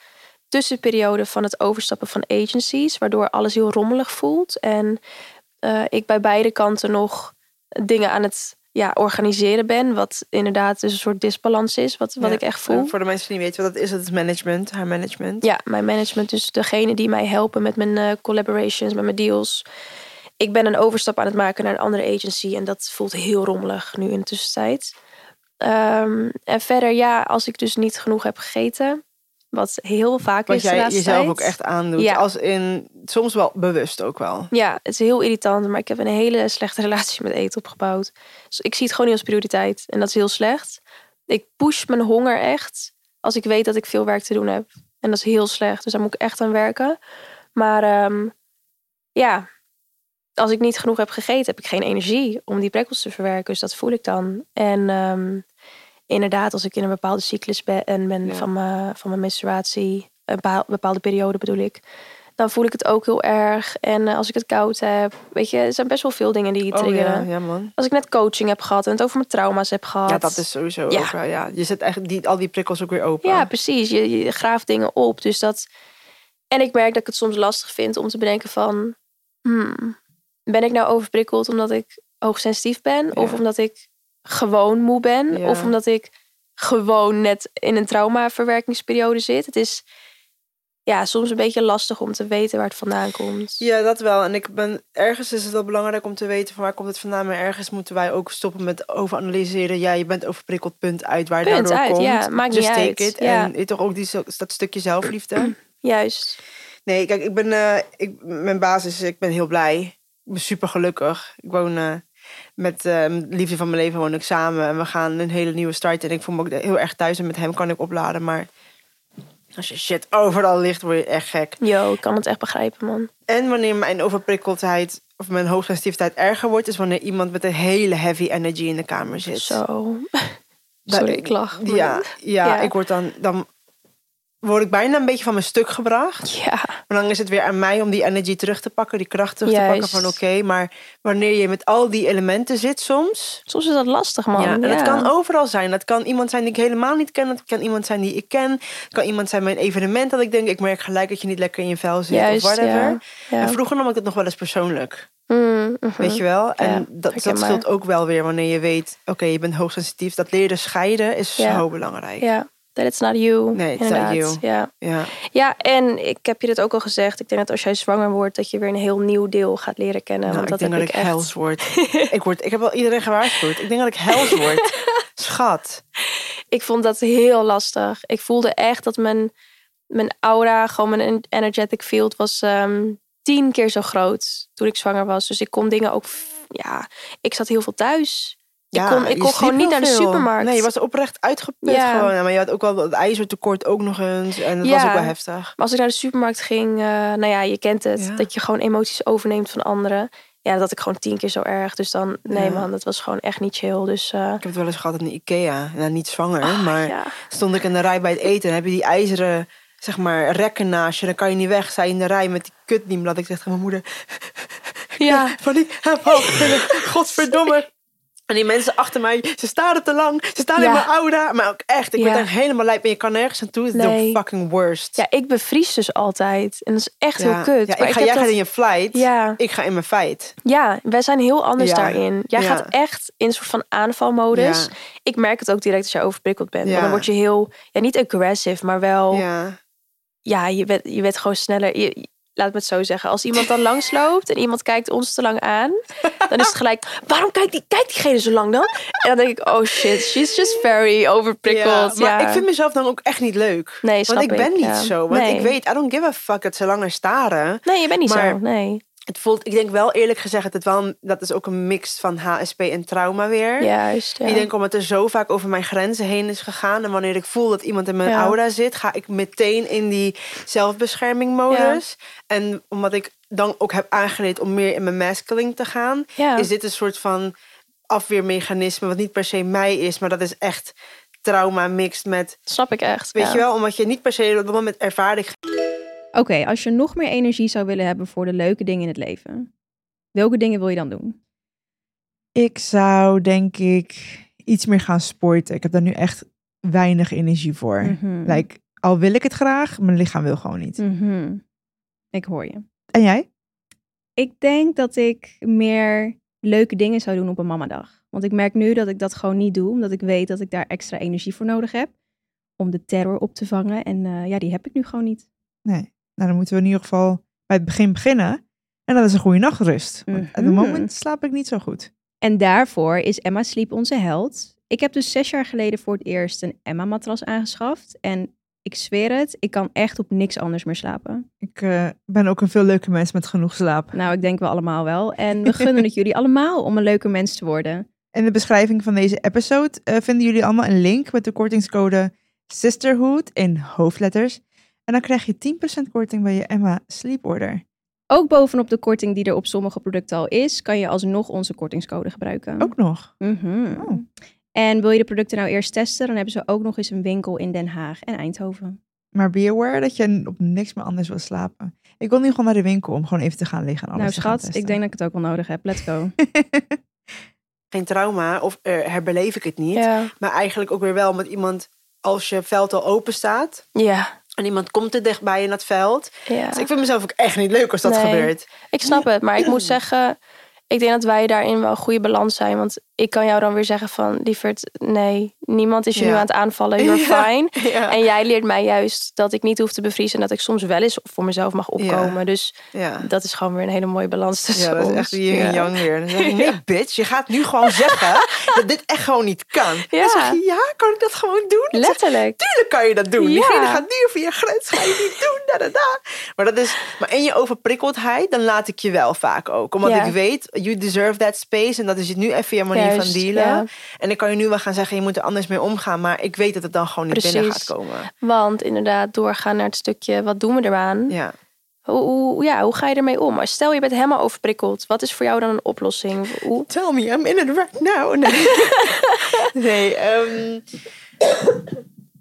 tussenperiode van het overstappen van agencies. Waardoor alles heel rommelig voelt. En eh, ik bij beide kanten nog dingen aan het ja, organiseren ben. Wat inderdaad dus een soort disbalans is. Wat, wat
Ja.
ik echt voel.
En Voor de mensen die niet weten wat dat is, dat is management. Haar management.
Ja, mijn management. Dus degene die mij helpen met mijn eh, collaborations, met mijn deals. Ik ben een overstap aan het maken naar een andere agency. En dat voelt heel rommelig nu in de tussentijd. Ehm, en verder, ja, als ik dus niet genoeg heb gegeten. Wat heel vaak
Wat
is de
jij
laatste
jezelf
tijd.
ook echt aandoet.
Ja.
Als in, soms wel bewust ook wel.
Ja, het is heel irritant. Maar ik heb een hele slechte [laughs] relatie met eten opgebouwd. Dus ik zie het gewoon niet als prioriteit. En dat is heel slecht. Ik push mijn honger echt als ik weet dat ik veel werk te doen heb. En dat is heel slecht. Dus daar moet ik echt aan werken. Maar ehm, ja, als ik niet genoeg heb gegeten, heb ik geen energie om die prikkels te verwerken. Dus dat voel ik dan. En ehm, inderdaad, als ik in een bepaalde cyclus ben, en ben
Ja.
van, mijn, van mijn menstruatie, een bepaal- bepaalde periode bedoel ik, dan voel ik het ook heel erg. En eh, als ik het koud heb, weet je, er zijn best wel veel dingen die
Oh
triggeren.
ja, ja man.
Als ik net coaching heb gehad en het over mijn trauma's heb gehad.
Ja, dat is sowieso
Ja.
ook wel, ja. Je zet echt die, al die prikkels ook weer open.
Ja, precies. Je, je graaft dingen op. Dus dat. En ik merk dat ik het soms lastig vind om te bedenken van. hmm, ben ik nou overprikkeld omdat ik hoogsensitief ben? Of
Ja.
omdat ik gewoon moe ben?
Ja.
Of omdat ik gewoon net in een traumaverwerkingsperiode zit? Het is ja, soms een beetje lastig om te weten waar het vandaan komt.
Ja, dat wel. En ik ben, ergens is het wel belangrijk om te weten van waar komt het vandaan. Maar ergens moeten wij ook stoppen met overanalyseren. Ja, je bent overprikkeld, punt uit. Waar het
Punt
daardoor
uit,
komt.
ja, maakt
Just
niet
take
uit,
it.
ja.
En je toch ook die, zo- dat stukje zelfliefde.
Juist.
Nee, kijk, ik ben, eh, ik, mijn basis, ik ben heel blij. Ik ben super gelukkig. Ik woon eh, met eh, met de liefde van mijn leven woon ik samen. En we gaan een hele nieuwe start. En ik voel me ook heel erg thuis. En met hem kan ik opladen. Maar als je shit overal ligt, word je echt gek.
Yo, ik kan het echt begrijpen, man.
En wanneer mijn overprikkeldheid of mijn hoogsensitiviteit erger wordt, is wanneer iemand met een hele heavy energy in de kamer zit.
Zo. [laughs]
Dat-
Sorry, ik lach. maar-
Nou, Ja, ja,
Ja.
ik word dan, dan word ik bijna een beetje van mijn stuk gebracht.
[laughs] Ja,
Maar dan is het weer aan mij om die energy terug te pakken, die kracht terug te pakken
Juist.
van oké. maar wanneer je met al die elementen zit soms.
soms is dat lastig, man.
Ja, en dat
Ja.
kan overal zijn. Dat kan iemand zijn die ik helemaal niet ken. Dat kan iemand zijn die ik ken. Het kan iemand zijn bij een evenement dat ik denk, ik merk gelijk dat je niet lekker in je vel zit
Juist,
of whatever.
ja. Ja.
En vroeger nam ik dat nog wel eens persoonlijk.
Mm, mhm.
Weet je wel? En
Ja,
dat, dat
herkenbaar.
scheelt ook wel weer wanneer je weet, oké, je bent hoogsensitief. Dat leren scheiden is
Ja.
zo belangrijk. Ja.
Ja, that it's not you.
Nee, it's not
inderdaad.
you.
Ja.
Ja.
ja, en ik heb je dit ook al gezegd. Ik denk dat als jij zwanger wordt, dat je weer een heel nieuw deel gaat leren kennen.
Nou,
want dat
ik denk dat
heb
ik
echt.
hels
[laughs]
word. ik word. Ik heb wel iedereen gewaarschuwd. Ik denk dat ik hels word.
[laughs]
Schat.
Ik vond dat heel lastig. Ik voelde echt dat mijn, mijn aura, gewoon mijn energetic field, was ehm, tien keer zo groot toen ik zwanger was. Dus ik kon dingen ook. f- Ja, ik zat heel veel thuis. ik kon,
je
ik kon
sliep
gewoon niet
heel
naar de
veel.
supermarkt.
Nee, je was oprecht uitgeput
Ja.
gewoon. Ja, Maar je had ook wel dat ijzertekort ook nog eens. En dat was
Ja.
ook wel heftig.
Maar als ik naar de supermarkt ging, eh, nou ja, je kent het.
Ja.
Dat je gewoon emoties overneemt van anderen. Ja, dat had ik gewoon tien keer zo erg. Dus dan, nee
Ja.
man, dat was gewoon echt niet chill. Dus eh,
Ik heb het wel eens gehad in de Ikea. Nou, niet zwanger, maar...
Ah, ja.
stond ik in de rij bij het eten. Dan heb je die ijzeren zeg maar, rekken naast je. Dan kan je niet weg. Zij in de rij met die kutniem. Dat ik zeg tegen mijn moeder... [laughs]
Ja. [laughs]
Van die... heb hoofdpijn. Godverdomme. En die mensen achter mij, ze staren te lang. Ze staan in
Ja.
mijn aura. Maar ook echt, ik
Ja.
word echt helemaal lijp. En je kan nergens aan toe. Het is
Nee.
the fucking worst.
Ja, ik bevries dus altijd. En dat is echt heel kut.
Ja,
maar
ik ga,
heb
jij
dat-
gaat in je flight.
ja,
Ik ga in mijn feit.
ja, wij zijn heel anders
Ja.
daarin. Jij
Ja.
gaat echt in een soort van aanvalmodus.
Ja.
Ik merk het ook direct als jij overprikkeld bent.
Ja.
Want dan word je heel, ja, niet aggressive, maar wel, ja,
Ja.
je, bent, je bent gewoon sneller. Je, je- laat me het zo zeggen. Als iemand dan langsloopt en iemand kijkt ons te lang aan, dan is het gelijk, waarom kijkt, die, kijkt diegene zo lang dan? En dan denk ik, oh shit, she's just very overprikkeld. Ja,
maar ik vind mezelf dan ook echt niet leuk.
Nee, snap
want ik ben
ik,
niet
ja.
zo. Want
Nee.
ik weet, I don't give a fuck dat ze langer staren.
Nee, je bent niet zo.
maar-
Nee.
Het voelt, ik denk wel eerlijk gezegd, dat het wel, een- dat is ook een mix van HSP en trauma weer.
Juist. Ja.
Ik denk omdat er zo vaak over mijn grenzen heen is gegaan. En wanneer ik voel dat iemand in mijn
Ja.
aura zit, ga ik meteen in die zelfbeschermingmodus. En omdat ik dan ook heb aangeleerd om meer in mijn masculine te gaan,
Ja.
is dit een soort van afweermechanisme, wat niet per se mij is, maar dat is echt trauma mixed met.
Snap ik echt.
Weet
ja.
je wel, omdat je niet per se op dat moment ervaardig
Oké, als je nog meer energie zou willen hebben voor de leuke dingen in het leven, welke dingen wil je dan doen?
Ik zou denk ik iets meer gaan sporten. Ik heb daar nu echt weinig energie voor.
Mm.
Mhm.
Like, al wil ik het graag, mijn lichaam wil gewoon niet.
Mhm. Ik hoor je.
En jij?
Ik denk dat ik meer leuke dingen zou doen op een mamadag. Want ik merk nu dat ik dat gewoon niet doe, omdat ik weet dat ik daar extra energie voor nodig heb. Om de terror op te vangen. En eh, ja, die heb ik nu gewoon niet.
Nee. Nou, dan moeten we in ieder geval bij het begin beginnen. En dat is een goede nachtrust. Want op het
Mhm.
moment slaap ik niet zo goed.
En daarvoor is Emma Sleep onze held. Ik heb dus zes jaar geleden voor het eerst een Emma-matras aangeschaft. En ik zweer het, ik kan echt op niks anders meer slapen.
Ik eh, ben ook een veel leuke mens met genoeg slaap.
Nou, ik denk wel allemaal wel. En we gunnen het jullie allemaal om een leuker mens te worden.
In de beschrijving van deze episode eh, vinden jullie allemaal een link met de kortingscode Sisterhood in hoofdletters. En dan krijg je 10% korting bij je Emma Sleeporder.
Ook bovenop de korting die er op sommige producten al is, kan je alsnog onze kortingscode gebruiken.
Ook nog.
Mhm.
Oh.
En wil je de producten nou eerst testen, dan hebben ze ook nog eens een winkel in Den Haag en
Oh,
Eindhoven.
Maar be aware dat je op niks meer anders wil slapen. Ik wil nu gewoon naar de winkel om gewoon even te gaan liggen. En alles
nou
te gaan
schat, ik denk dat ik het ook wel nodig heb. Let's
[laughs]
go.
testen.
geen trauma of eh, herbeleef ik het niet.
Ja.
Maar eigenlijk ook weer wel met iemand als je veld al open staat
Ja.
en iemand komt te dichtbij in dat veld.
ja.
Dus ik vind mezelf ook echt niet leuk als dat
Nee.
gebeurt.
Ik snap het, maar ik moet zeggen, ik denk dat wij daarin wel een goede balans zijn. Want ik kan jou dan weer zeggen van, lieverd, nee, niemand is je nu
Ja.
aan het aanvallen, you're
[laughs] Ja,
fine.
ja.
En jij leert mij juist dat ik niet hoef te bevriezen en dat ik soms wel eens voor mezelf mag opkomen. Dus
Ja.
dat is gewoon weer een hele mooie balans tussen
Ja, dat is
ons.
echt die yin
Ja.
en yang weer. Dan zeg
[laughs]
ik, nee, bitch, je gaat nu gewoon zeggen dat dit echt gewoon niet kan. Dan
Ja.
zeg je, ja, kan ik dat gewoon doen? Dan zeg ik,
Letterlijk.
Tuurlijk kan je dat doen.
Ja.
Diegene gaat nu over je grens, ga je niet doen. Da, da, da. Maar, dat is, maar in je overprikkeldheid, dan laat ik je wel vaak ook. Omdat
Ja.
ik weet, you deserve that space. En dat is nu even je manier
Juist,
van dealen.
ja.
En dan kan je nu wel gaan zeggen, je moet er anders mee omgaan. Maar ik weet dat het dan gewoon niet binnen gaat
Precies.
komen.
Want inderdaad, doorgaan naar het stukje, wat doen we eraan?
Ja.
Hoe, hoe- ja, hoe ga je ermee om? Maar Stel, je bent helemaal overprikkeld. Wat is voor jou dan een oplossing? Hoe?
Tell me, I'm in it right now.
[laughs]
Nee, nee ehm,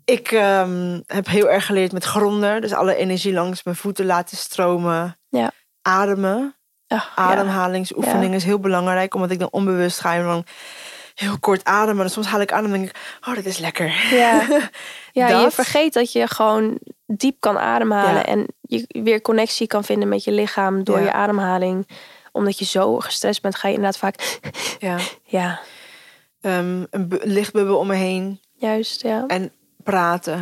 ik ehm, heb heel erg geleerd met gronden. Dus alle energie langs mijn voeten laten stromen.
Ja.
Ademen.
Ach, ja.
Ademhalingsoefening
Ja.
is heel belangrijk, omdat ik dan onbewust ga en dan heel kort ademen. En soms haal ik adem en denk ik, oh, dit is lekker. [laughs]
Ja, ja je
Dat.
vergeet dat je gewoon diep kan ademhalen.
Ja.
En je weer connectie kan vinden met je lichaam door
Ja.
je ademhaling. Omdat je zo gestrest bent, ga je inderdaad vaak... [laughs]
Ja.
ja,
Ehm, een bu- lichtbubbel om me heen
juist, ja.
en praten.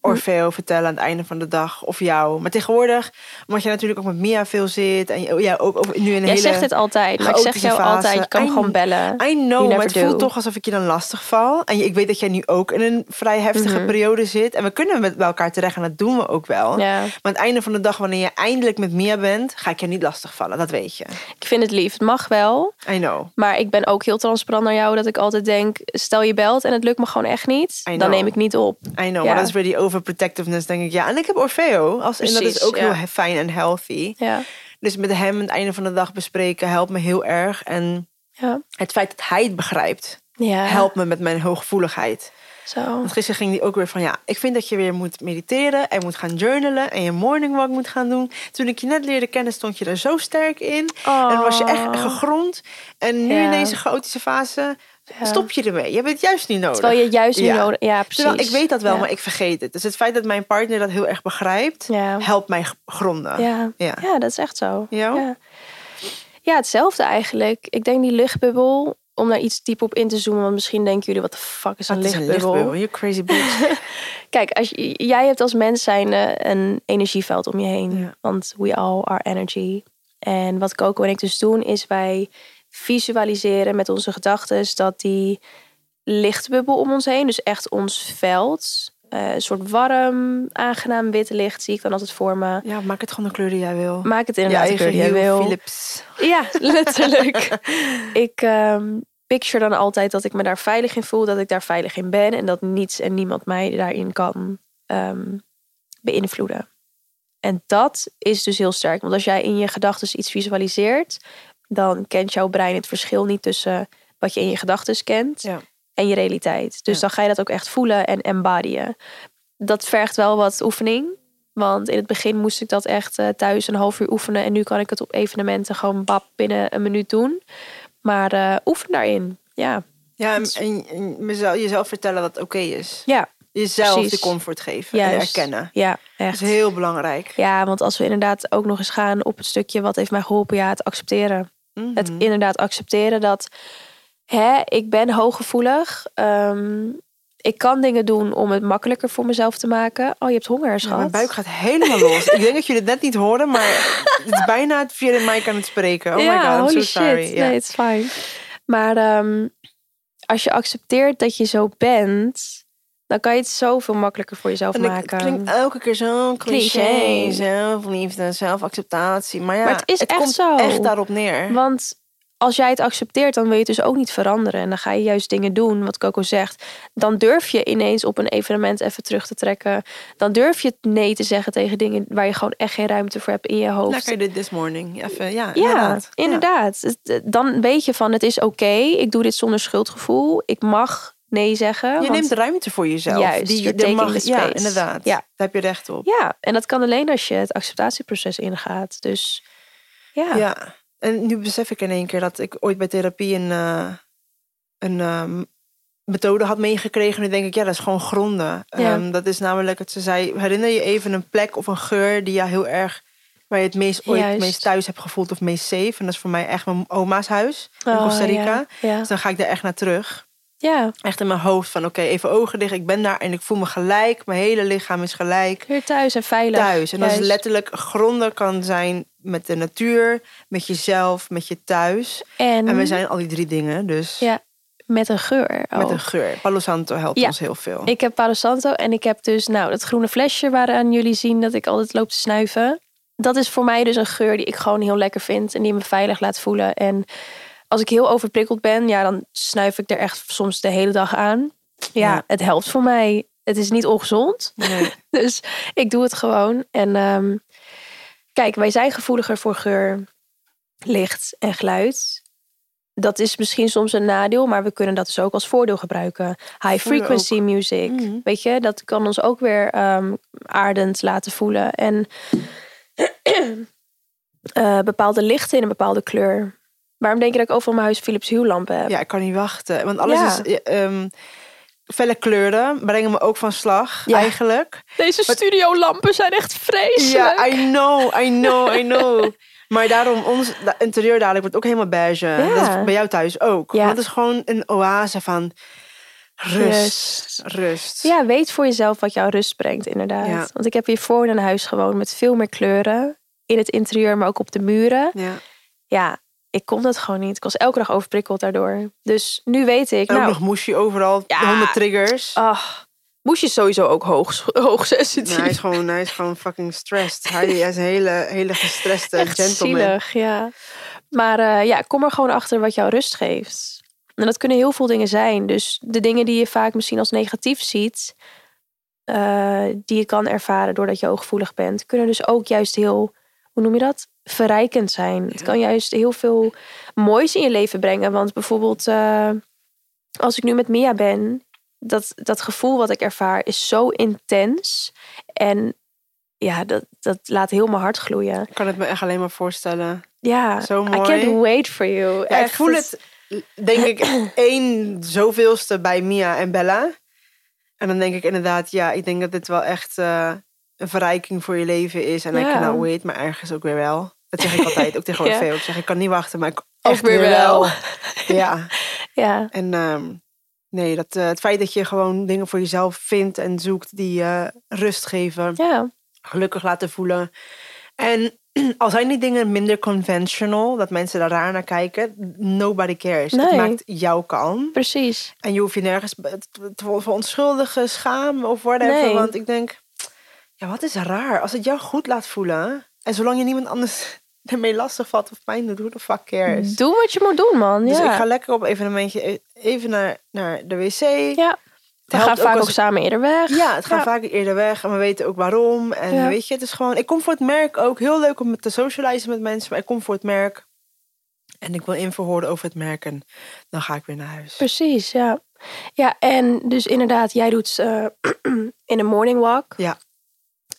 Hm.
Orfeo vertellen aan het einde van de dag of jou. Maar tegenwoordig, omdat je natuurlijk ook met Mia veel zit en je- ja, ook over, nu in een
Jij
hele...
zegt het altijd, maar ik zeg
chaotische
jou
fase.
altijd, je kan
I-
gewoon bellen.
I know,
You
maar
never
het voelt
do.
toch alsof ik je dan lastig val. En je- ik weet dat jij nu ook in een vrij heftige
Mhm.
periode zit. En we kunnen met bij elkaar terecht en dat doen we ook wel.
Ja.
Maar aan het einde van de dag, wanneer je eindelijk met Mia bent, ga ik je niet lastig vallen. Dat weet je.
Ik vind het lief, het mag wel.
I know.
Maar ik ben ook heel transparant naar jou dat ik altijd denk... stel je belt en het lukt me gewoon echt niet,
I
dan
know.
neem ik niet op.
I know.
Ja.
Maar dat is weer die overprotectiveness, denk ik. Ja, en ik heb Orfeo. Als, en dat is
Precies,
ook
ja.
heel he- fijn en healthy.
Ja,
Dus met hem aan het einde van de dag bespreken helpt me heel erg. En
ja.
het feit dat hij het begrijpt,
ja.
helpt me met mijn hooggevoeligheid.
Zo.
Want gisteren ging die ook weer van ja, ik vind dat je weer moet mediteren en moet gaan journalen en je morning walk moet gaan doen. Toen ik je net leerde kennen, stond je er zo sterk in. En was je echt gegrond. En nu
Oh. Ja.
in deze chaotische fase
Ja.
stop je ermee. Je hebt het juist niet nodig.
Terwijl je juist niet
Ja.
nodig... Ja, precies.
Terwijl ik weet dat wel,
Ja.
maar ik vergeet het. Dus het feit dat mijn partner dat heel erg begrijpt,
Ja.
helpt mij g- gronden.
Ja.
Ah, Ja.
ja, dat is echt zo.
Jou?
Ja. ja, hetzelfde eigenlijk. Ik denk die luchtbubbel, om daar iets dieper op in te zoomen. Want misschien denken jullie, wat de fuck is een
Dat Ah, is een
luchtbubbel?
lichtbubbel. You crazy
[laughs]
bitch.
Kijk, als je- jij hebt als mens zijn een energieveld om je heen.
Ja.
Want we all are energy. En wat Coco en ik dus doen, is wij visualiseren met onze gedachten dat die lichtbubbel om ons heen, dus echt ons veld, eh, een soort warm, aangenaam wit licht, zie ik dan altijd voor me.
ja, maak het gewoon de kleur die jij wil.
Maak het inderdaad de kleur die jij
Hue
wil.
Philips.
Ja, letterlijk. ik ehm, picture dan altijd dat ik me daar veilig in voel, dat ik daar veilig in ben en dat niets en niemand mij daarin kan ehm, beïnvloeden. En dat is dus heel sterk, want als jij in je gedachten iets visualiseert, dan kent jouw brein het verschil niet tussen wat je in je gedachten kent
Ja.
en je realiteit. Dus
Ja.
dan ga je dat ook echt voelen en embodyen. Dat vergt wel wat oefening. Want in het begin moest ik dat echt eh, thuis een half uur oefenen. En nu kan ik het op evenementen gewoon bap binnen een minuut doen. Maar eh, oefen daarin. Ja,
Ja, en,
Dat is-
en- en mezelf- jezelf vertellen wat oké is.
ja
Jezelf de
precies.
comfort geven en
juist.
erkennen.
Ja,
Dat
echt.
is heel belangrijk.
Ja, want als we inderdaad ook nog eens gaan op het stukje wat heeft mij geholpen, ja, het accepteren.
Mhm.
Het inderdaad accepteren dat hè, ik ben hooggevoelig. Ehm ik kan dingen doen om het makkelijker voor mezelf te maken. Oh, je hebt honger,
Ja,
schat.
mijn buik gaat helemaal los. Ik denk dat jullie het net niet horen, maar het is bijna het vierde mic aan het spreken. Oh my god, I'm
holy
so
shit.
sorry. Ja.
Nee, it's fine. Maar ehm, als je accepteert dat je zo bent, dan kan je het zoveel makkelijker voor jezelf
En ik- het
maken.
klinkt elke keer zo'n cliché.
Cliché.
Zelfliefde, zelfacceptatie. Maar ja,
Maar het is echt
komt
zo.
echt daarop neer.
Want als jij het accepteert, dan wil je het dus ook niet veranderen. En dan ga je juist dingen doen, wat Coco zegt. Dan durf je ineens op een evenement even terug te trekken. Dan durf je nee te zeggen tegen dingen waar je gewoon echt geen ruimte voor hebt in je hoofd.
Lekker dit this morning. Even, ja,
Ja,
inderdaad.
inderdaad.
Ja.
Het- Dan weet je van het is oké, ik doe dit zonder schuldgevoel. Ik mag nee zeggen.
Je
want-
neemt ruimte voor jezelf.
Juist, you're
daar
taking the
ja,
space.
inderdaad.
Ja.
Daar heb je recht op.
Ja, en dat kan alleen als je het acceptatieproces ingaat. Dus ja,
Ja. En nu besef ik in één keer dat ik ooit bij therapie een, eh, een ehm, methode had meegekregen. Nu denk ik, ja, dat is gewoon gronden.
Ja.
Ehm, dat is namelijk, dat ze zei, herinner je even een plek of een geur die je heel erg, waar je het meest ooit het
Juist.
meest thuis hebt gevoeld of meest safe. En dat is voor mij echt mijn oma's huis in
Oh,
Costa Rica.
ja, ja.
Dus dan ga ik daar echt naar terug.
ja,
Echt in mijn hoofd van, oké, even ogen dicht. Ik ben daar en ik voel me gelijk. Mijn hele lichaam is gelijk
weer thuis en veilig.
thuis. En dat is
Juist.
letterlijk gronden kan zijn met de natuur, met jezelf, met je thuis.
En,
En we zijn al die drie dingen, dus
Mhm. Ja, met een geur.
met
ook.
een geur. Palo Santo helpt
Ja.
ons heel veel.
Ik heb Palo Santo en ik heb dus nou dat groene flesje waaraan jullie zien dat ik altijd loop te snuiven. Dat is voor mij dus een geur die ik gewoon heel lekker vind en die me veilig laat voelen. En als ik heel overprikkeld ben, ja, dan snuif ik er echt soms de hele dag aan. Ja,
Ja.
het helpt voor mij. Het is niet ongezond,
Nee.
[laughs] Dus ik doe het gewoon. En ehm, kijk, wij zijn gevoeliger voor geur, licht en geluid. Dat is misschien soms een nadeel, maar we kunnen dat dus ook als voordeel gebruiken. High frequency music,
Mhm.
weet je, dat kan ons ook weer ehm, aardend laten voelen. En [clears throat] eh, bepaalde lichten in een bepaalde kleur. Waarom denk je dat ik overal mijn huis Philips Hue lampen heb?
Ja, ik kan niet wachten. Want alles
Ja.
is... ja, ehm, felle kleuren brengen me ook van slag,
Ja.
eigenlijk.
Deze studiolampen zijn echt vreselijk.
Ja, I know, I know, I know. [laughs] Maar daarom, ons da- interieur dadelijk wordt ook helemaal beige. Dat is bij jou thuis ook.
Ja.
Want het is gewoon een oase van rust.
Rust.
Rust.
Ja, weet voor jezelf wat jou rust brengt, inderdaad.
Ja.
Want ik heb hiervoor in een huis gewoond met veel meer kleuren. In het interieur, maar ook op de muren.
Ja.
Ja, ik kon dat gewoon niet. Ik was elke dag overprikkeld daardoor. Dus nu weet ik,
En ook
nou,
nog moesje overal,
Ja. Oh.
100 triggers.
ach, moest je sowieso ook hoog, [laughs] hoog sensitief.
Nou, hij, is gewoon, hij is gewoon fucking stressed. Hij is een hele, hele gestreste
Echt
eh, gentleman.
zielig, ja. Maar eh, ja, kom er gewoon achter wat jou rust geeft. En dat kunnen heel veel dingen zijn. Dus de dingen die je vaak misschien als negatief ziet, eh, die je kan ervaren doordat je hooggevoelig bent, kunnen dus ook juist heel, hoe noem je dat? Verrijkend zijn. Het kan juist heel veel moois in je leven brengen. Want bijvoorbeeld, eh, als ik nu met Mia ben, dat, dat gevoel wat ik ervaar is zo intens. En ja, dat, dat laat heel mijn hart gloeien.
Ik kan het me echt alleen maar voorstellen.
Ja,
Zo
I can't
mooi.
wait for you.
Ja, ik
Echt,
voel
dat-
het, denk ik, één zoveelste bij Mia en Bella. En dan denk ik inderdaad, ja, ik denk dat dit wel echt eh, een verrijking voor je leven is. En ik I
Ja.
cannot wait, maar ergens ook weer wel. Dat zeg ik altijd,
[laughs]
ook tegen
Ja.
Orfeo. Ik zeg, ik kan niet wachten, maar ik
Ook
echt
weer
weer
wel.
wel.
[laughs]
ja,
Ja,
en ehm, nee, dat, eh, het feit dat je gewoon dingen voor jezelf vindt en zoekt die je rust geven,
ja,
gelukkig laten voelen. En [clears throat] al zijn die dingen minder conventional, dat mensen daar raar naar kijken, nobody cares. Het
Nee.
maakt jou kalm.
precies.
En je hoeft je nergens be- te te verontschuldigen, schamen of whatever.
Nee.
Want ik denk, ja, wat is raar. Als het jou goed laat voelen en zolang je niemand anders [laughs] ermee lastig valt of pijn doet, who the fuck cares?
Doe wat je moet doen, man.
Dus
ja.
ik ga lekker op evenementje e, even naar, naar de wc.
ja. We
helpt
gaan
ook
vaak
als-
ook samen eerder weg.
Ja, het gaat
Ja.
vaak eerder weg en we weten ook waarom. En
Ja.
weet je, het is gewoon... Ik kom voor het merk ook. Heel leuk om te socializen met mensen, maar ik kom voor het merk. En ik wil info horen over het merk en dan ga ik weer naar huis.
Precies, ja. Ja, en dus inderdaad, jij doet ze eh, [clears throat] in een morning walk.
Ja.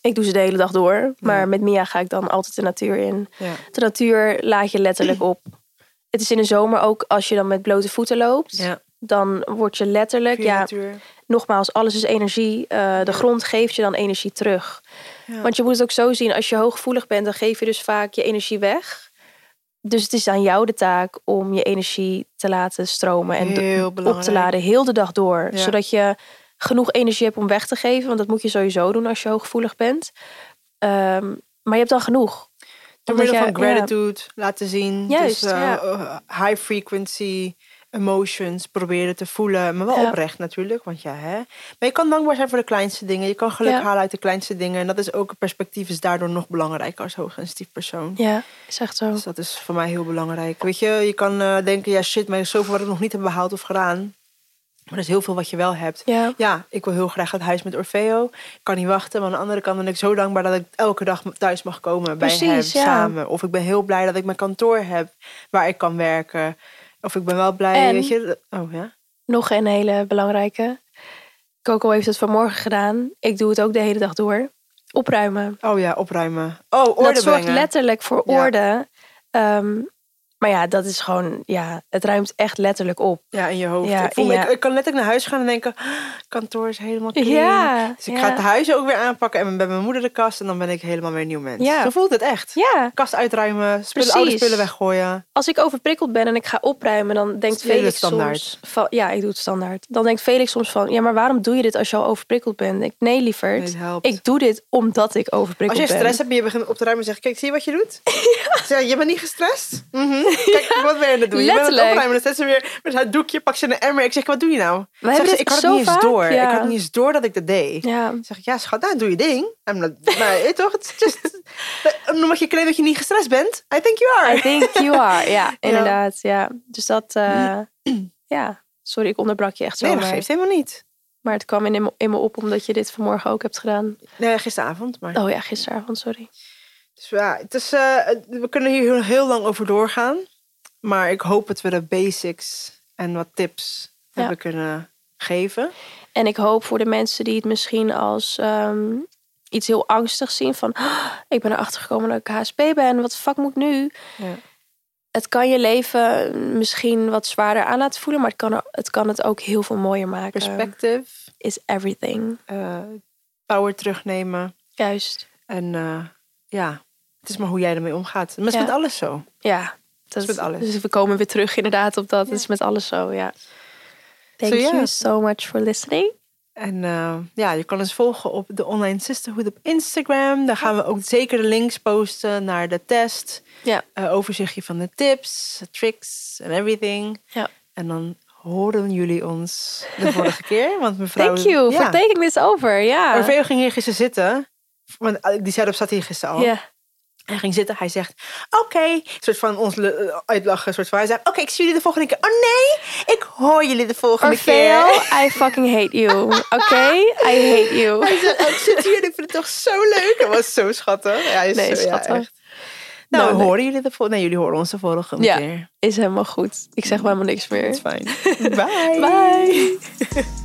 Ik doe ze de hele dag door. Maar
Ja.
met Mia ga ik dan altijd de natuur in.
Ja.
De natuur laat je letterlijk op. Het is in de zomer ook als je dan met blote voeten loopt.
Ja,
Dan word je letterlijk,
pure
ja,
natuur.
nogmaals, alles is energie. Eh, de grond geeft je dan energie terug.
Ja.
Want je moet het ook zo zien, als je hooggevoelig bent, dan geef je dus vaak je energie weg. Dus het is aan jou de taak om je energie te laten stromen en
Heel
op te
belangrijk.
laden, heel de dag door.
Ja.
Zodat je genoeg energie hebt om weg te geven. Want dat moet je sowieso doen als je hooggevoelig bent. Ehm, maar je hebt dan genoeg.
Door
Omdat
middel
je-
van gratitude laten zien.
Juist,
dus eh,
ja.
eh, high frequency emotions proberen te voelen. Maar wel
Ja.
oprecht natuurlijk, want ja, hè. Maar je kan dankbaar zijn voor de kleinste dingen. Je kan geluk
Ja.
halen uit de kleinste dingen. En dat is ook, perspectief is daardoor nog belangrijker als hoogsensitief persoon.
Ja, ja is echt zo.
Dus dat is voor mij heel belangrijk. Weet je, je kan eh, denken, ja shit, maar er is zoveel wat ik nog niet heb behaald of gedaan. Maar er is heel veel wat je wel hebt.
Ja.
Ja, ik wil heel graag het huis met Orfeo. Ik kan niet wachten. Maar aan de andere kant ben ik zo dankbaar dat ik elke dag thuis mag komen bij hem
Precies, ja.
samen. Of ik ben heel blij dat ik mijn kantoor heb waar ik kan werken. Of ik ben wel blij,
En-
weet je. dat- Oh ja.
Nog een hele belangrijke. Coco heeft het vanmorgen gedaan. Ik doe het ook de hele dag door. Opruimen.
Oh ja, opruimen. Oh, orde
dat zorgt
brengen.
letterlijk voor
Ja.
orde. Ehm, maar ja, dat is gewoon, ja, het ruimt echt letterlijk op.
Ja, in je hoofd.
Ja,
ik,
in
voel me-
je-
ik, ik kan letterlijk naar huis gaan en denken, "Ah, kantoor is helemaal clean.
Ja,
Dus ik
ja.
ga het huis ook weer aanpakken en bij mijn moeder de kast. En dan ben ik helemaal weer een nieuw mens.
Ja.
Zo voelt het echt.
Ja,
Kast uitruimen, spullen, oude
Precies.
spullen weggooien.
als ik overprikkeld ben en ik ga opruimen, dan denkt
Doe je
Felix
het standaard?
soms van, ja, ik doe het standaard. Dan denkt Felix soms van, ja, maar waarom doe je dit als je al overprikkeld bent? Ik, nee, lieverd,
Nee, het helpt.
ik doe dit omdat ik
Als
overprikkeld
je
ben.
stress hebt en je begint op te ruimen, zeg ik, kijk, zie je wat je
[laughs]
doet? Zeg, je bent niet gestrest? Mhm. Kijk, wat ben je aan het doen? Je bent aan het
Letterlijk.
opruimen. Dan zet ze weer met haar doekje, pak ze een emmer. Ik zeg, wat doe je nou?
We
Zegt
hebben
ze,
dit
ik had het
zo
niet eens
vaak,
door.
ja.
Ik had niet eens door dat ik dat deed.
Ja,
Dan zeg ik, ja schat, nou doe je ding. I'm not, maar eh, toch, het is
[laughs]
just... Eh, Omdat je claimt dat je niet gestrest bent, I think you are.
I think you are.
[laughs]
Ja, inderdaad. Ja. Dus dat,
[clears throat]
eh, ja. Sorry, ik onderbrak je echt zo.
Nee, dat
maar-
geeft helemaal niet.
maar het kwam in, in me- in me op omdat je dit vanmorgen ook hebt gedaan.
Nee, gisteravond, maar...
Oh ja, gisteravond, sorry.
Dus ja, het is, eh, we kunnen hier heel, heel lang over doorgaan. Maar ik hoop dat we de basics en wat tips
Ja. Ehm,
hebben kunnen geven.
En ik hoop voor de mensen die het misschien als ehm, iets heel angstigs zien. Van, "Ah, ik ben erachter gekomen dat ik HSP ben. Wat de fuck moet ik nu?
Ja.
Het kan je leven misschien wat zwaarder aan laten voelen. Maar het kan, het kan het ook heel veel mooier maken.
Perspective,
is everything.
eh, power terugnemen.
Juist.
En eh, ja, het is maar hoe jij ermee omgaat. Maar het is
Ja.
met alles zo.
Ja. Dat
is met alles.
Dus we komen weer terug inderdaad op dat. Het is met alles zo, ja. Thank
Zo, ja.
you so much for listening.
En eh, ja, je kan ons volgen op de Online Sisterhood op Instagram. Daar gaan we ook zeker de links posten naar de test.
Ja.
Eh, overzichtje van de tips, tricks en everything.
Ja.
En dan horen jullie ons
[laughs]
de vorige keer. Want mevrouw...
Thank you for
Ja,
taking this over. Ja.
Orfeo ging hier gisteren zitten. Want eh, die setup zat hier gisteren al.
Ja.
Hij ging zitten, hij zegt, oké. Een soort van ons le- eh, uitlachen. een soort van, hij zegt, oké, ik zie jullie de volgende keer. Oh nee, ik hoor jullie de volgende
Orfeo,
keer.
I fucking hate you. Okay? I hate you. [laughs]
Hij zegt, oh, ik zit hier en ik vind het toch zo leuk. Dat was zo schattig. Ja, hij is
Nee,
zo,
schattig.
Ja, echt. nou,
Nou, nee.
horen jullie de volgende? Nee, jullie horen ons de volgende
Ja.
keer.
[laughs] Is helemaal goed. Ik zeg maar helemaal niks
Dat
meer.
is fijn. Bye.
Bye.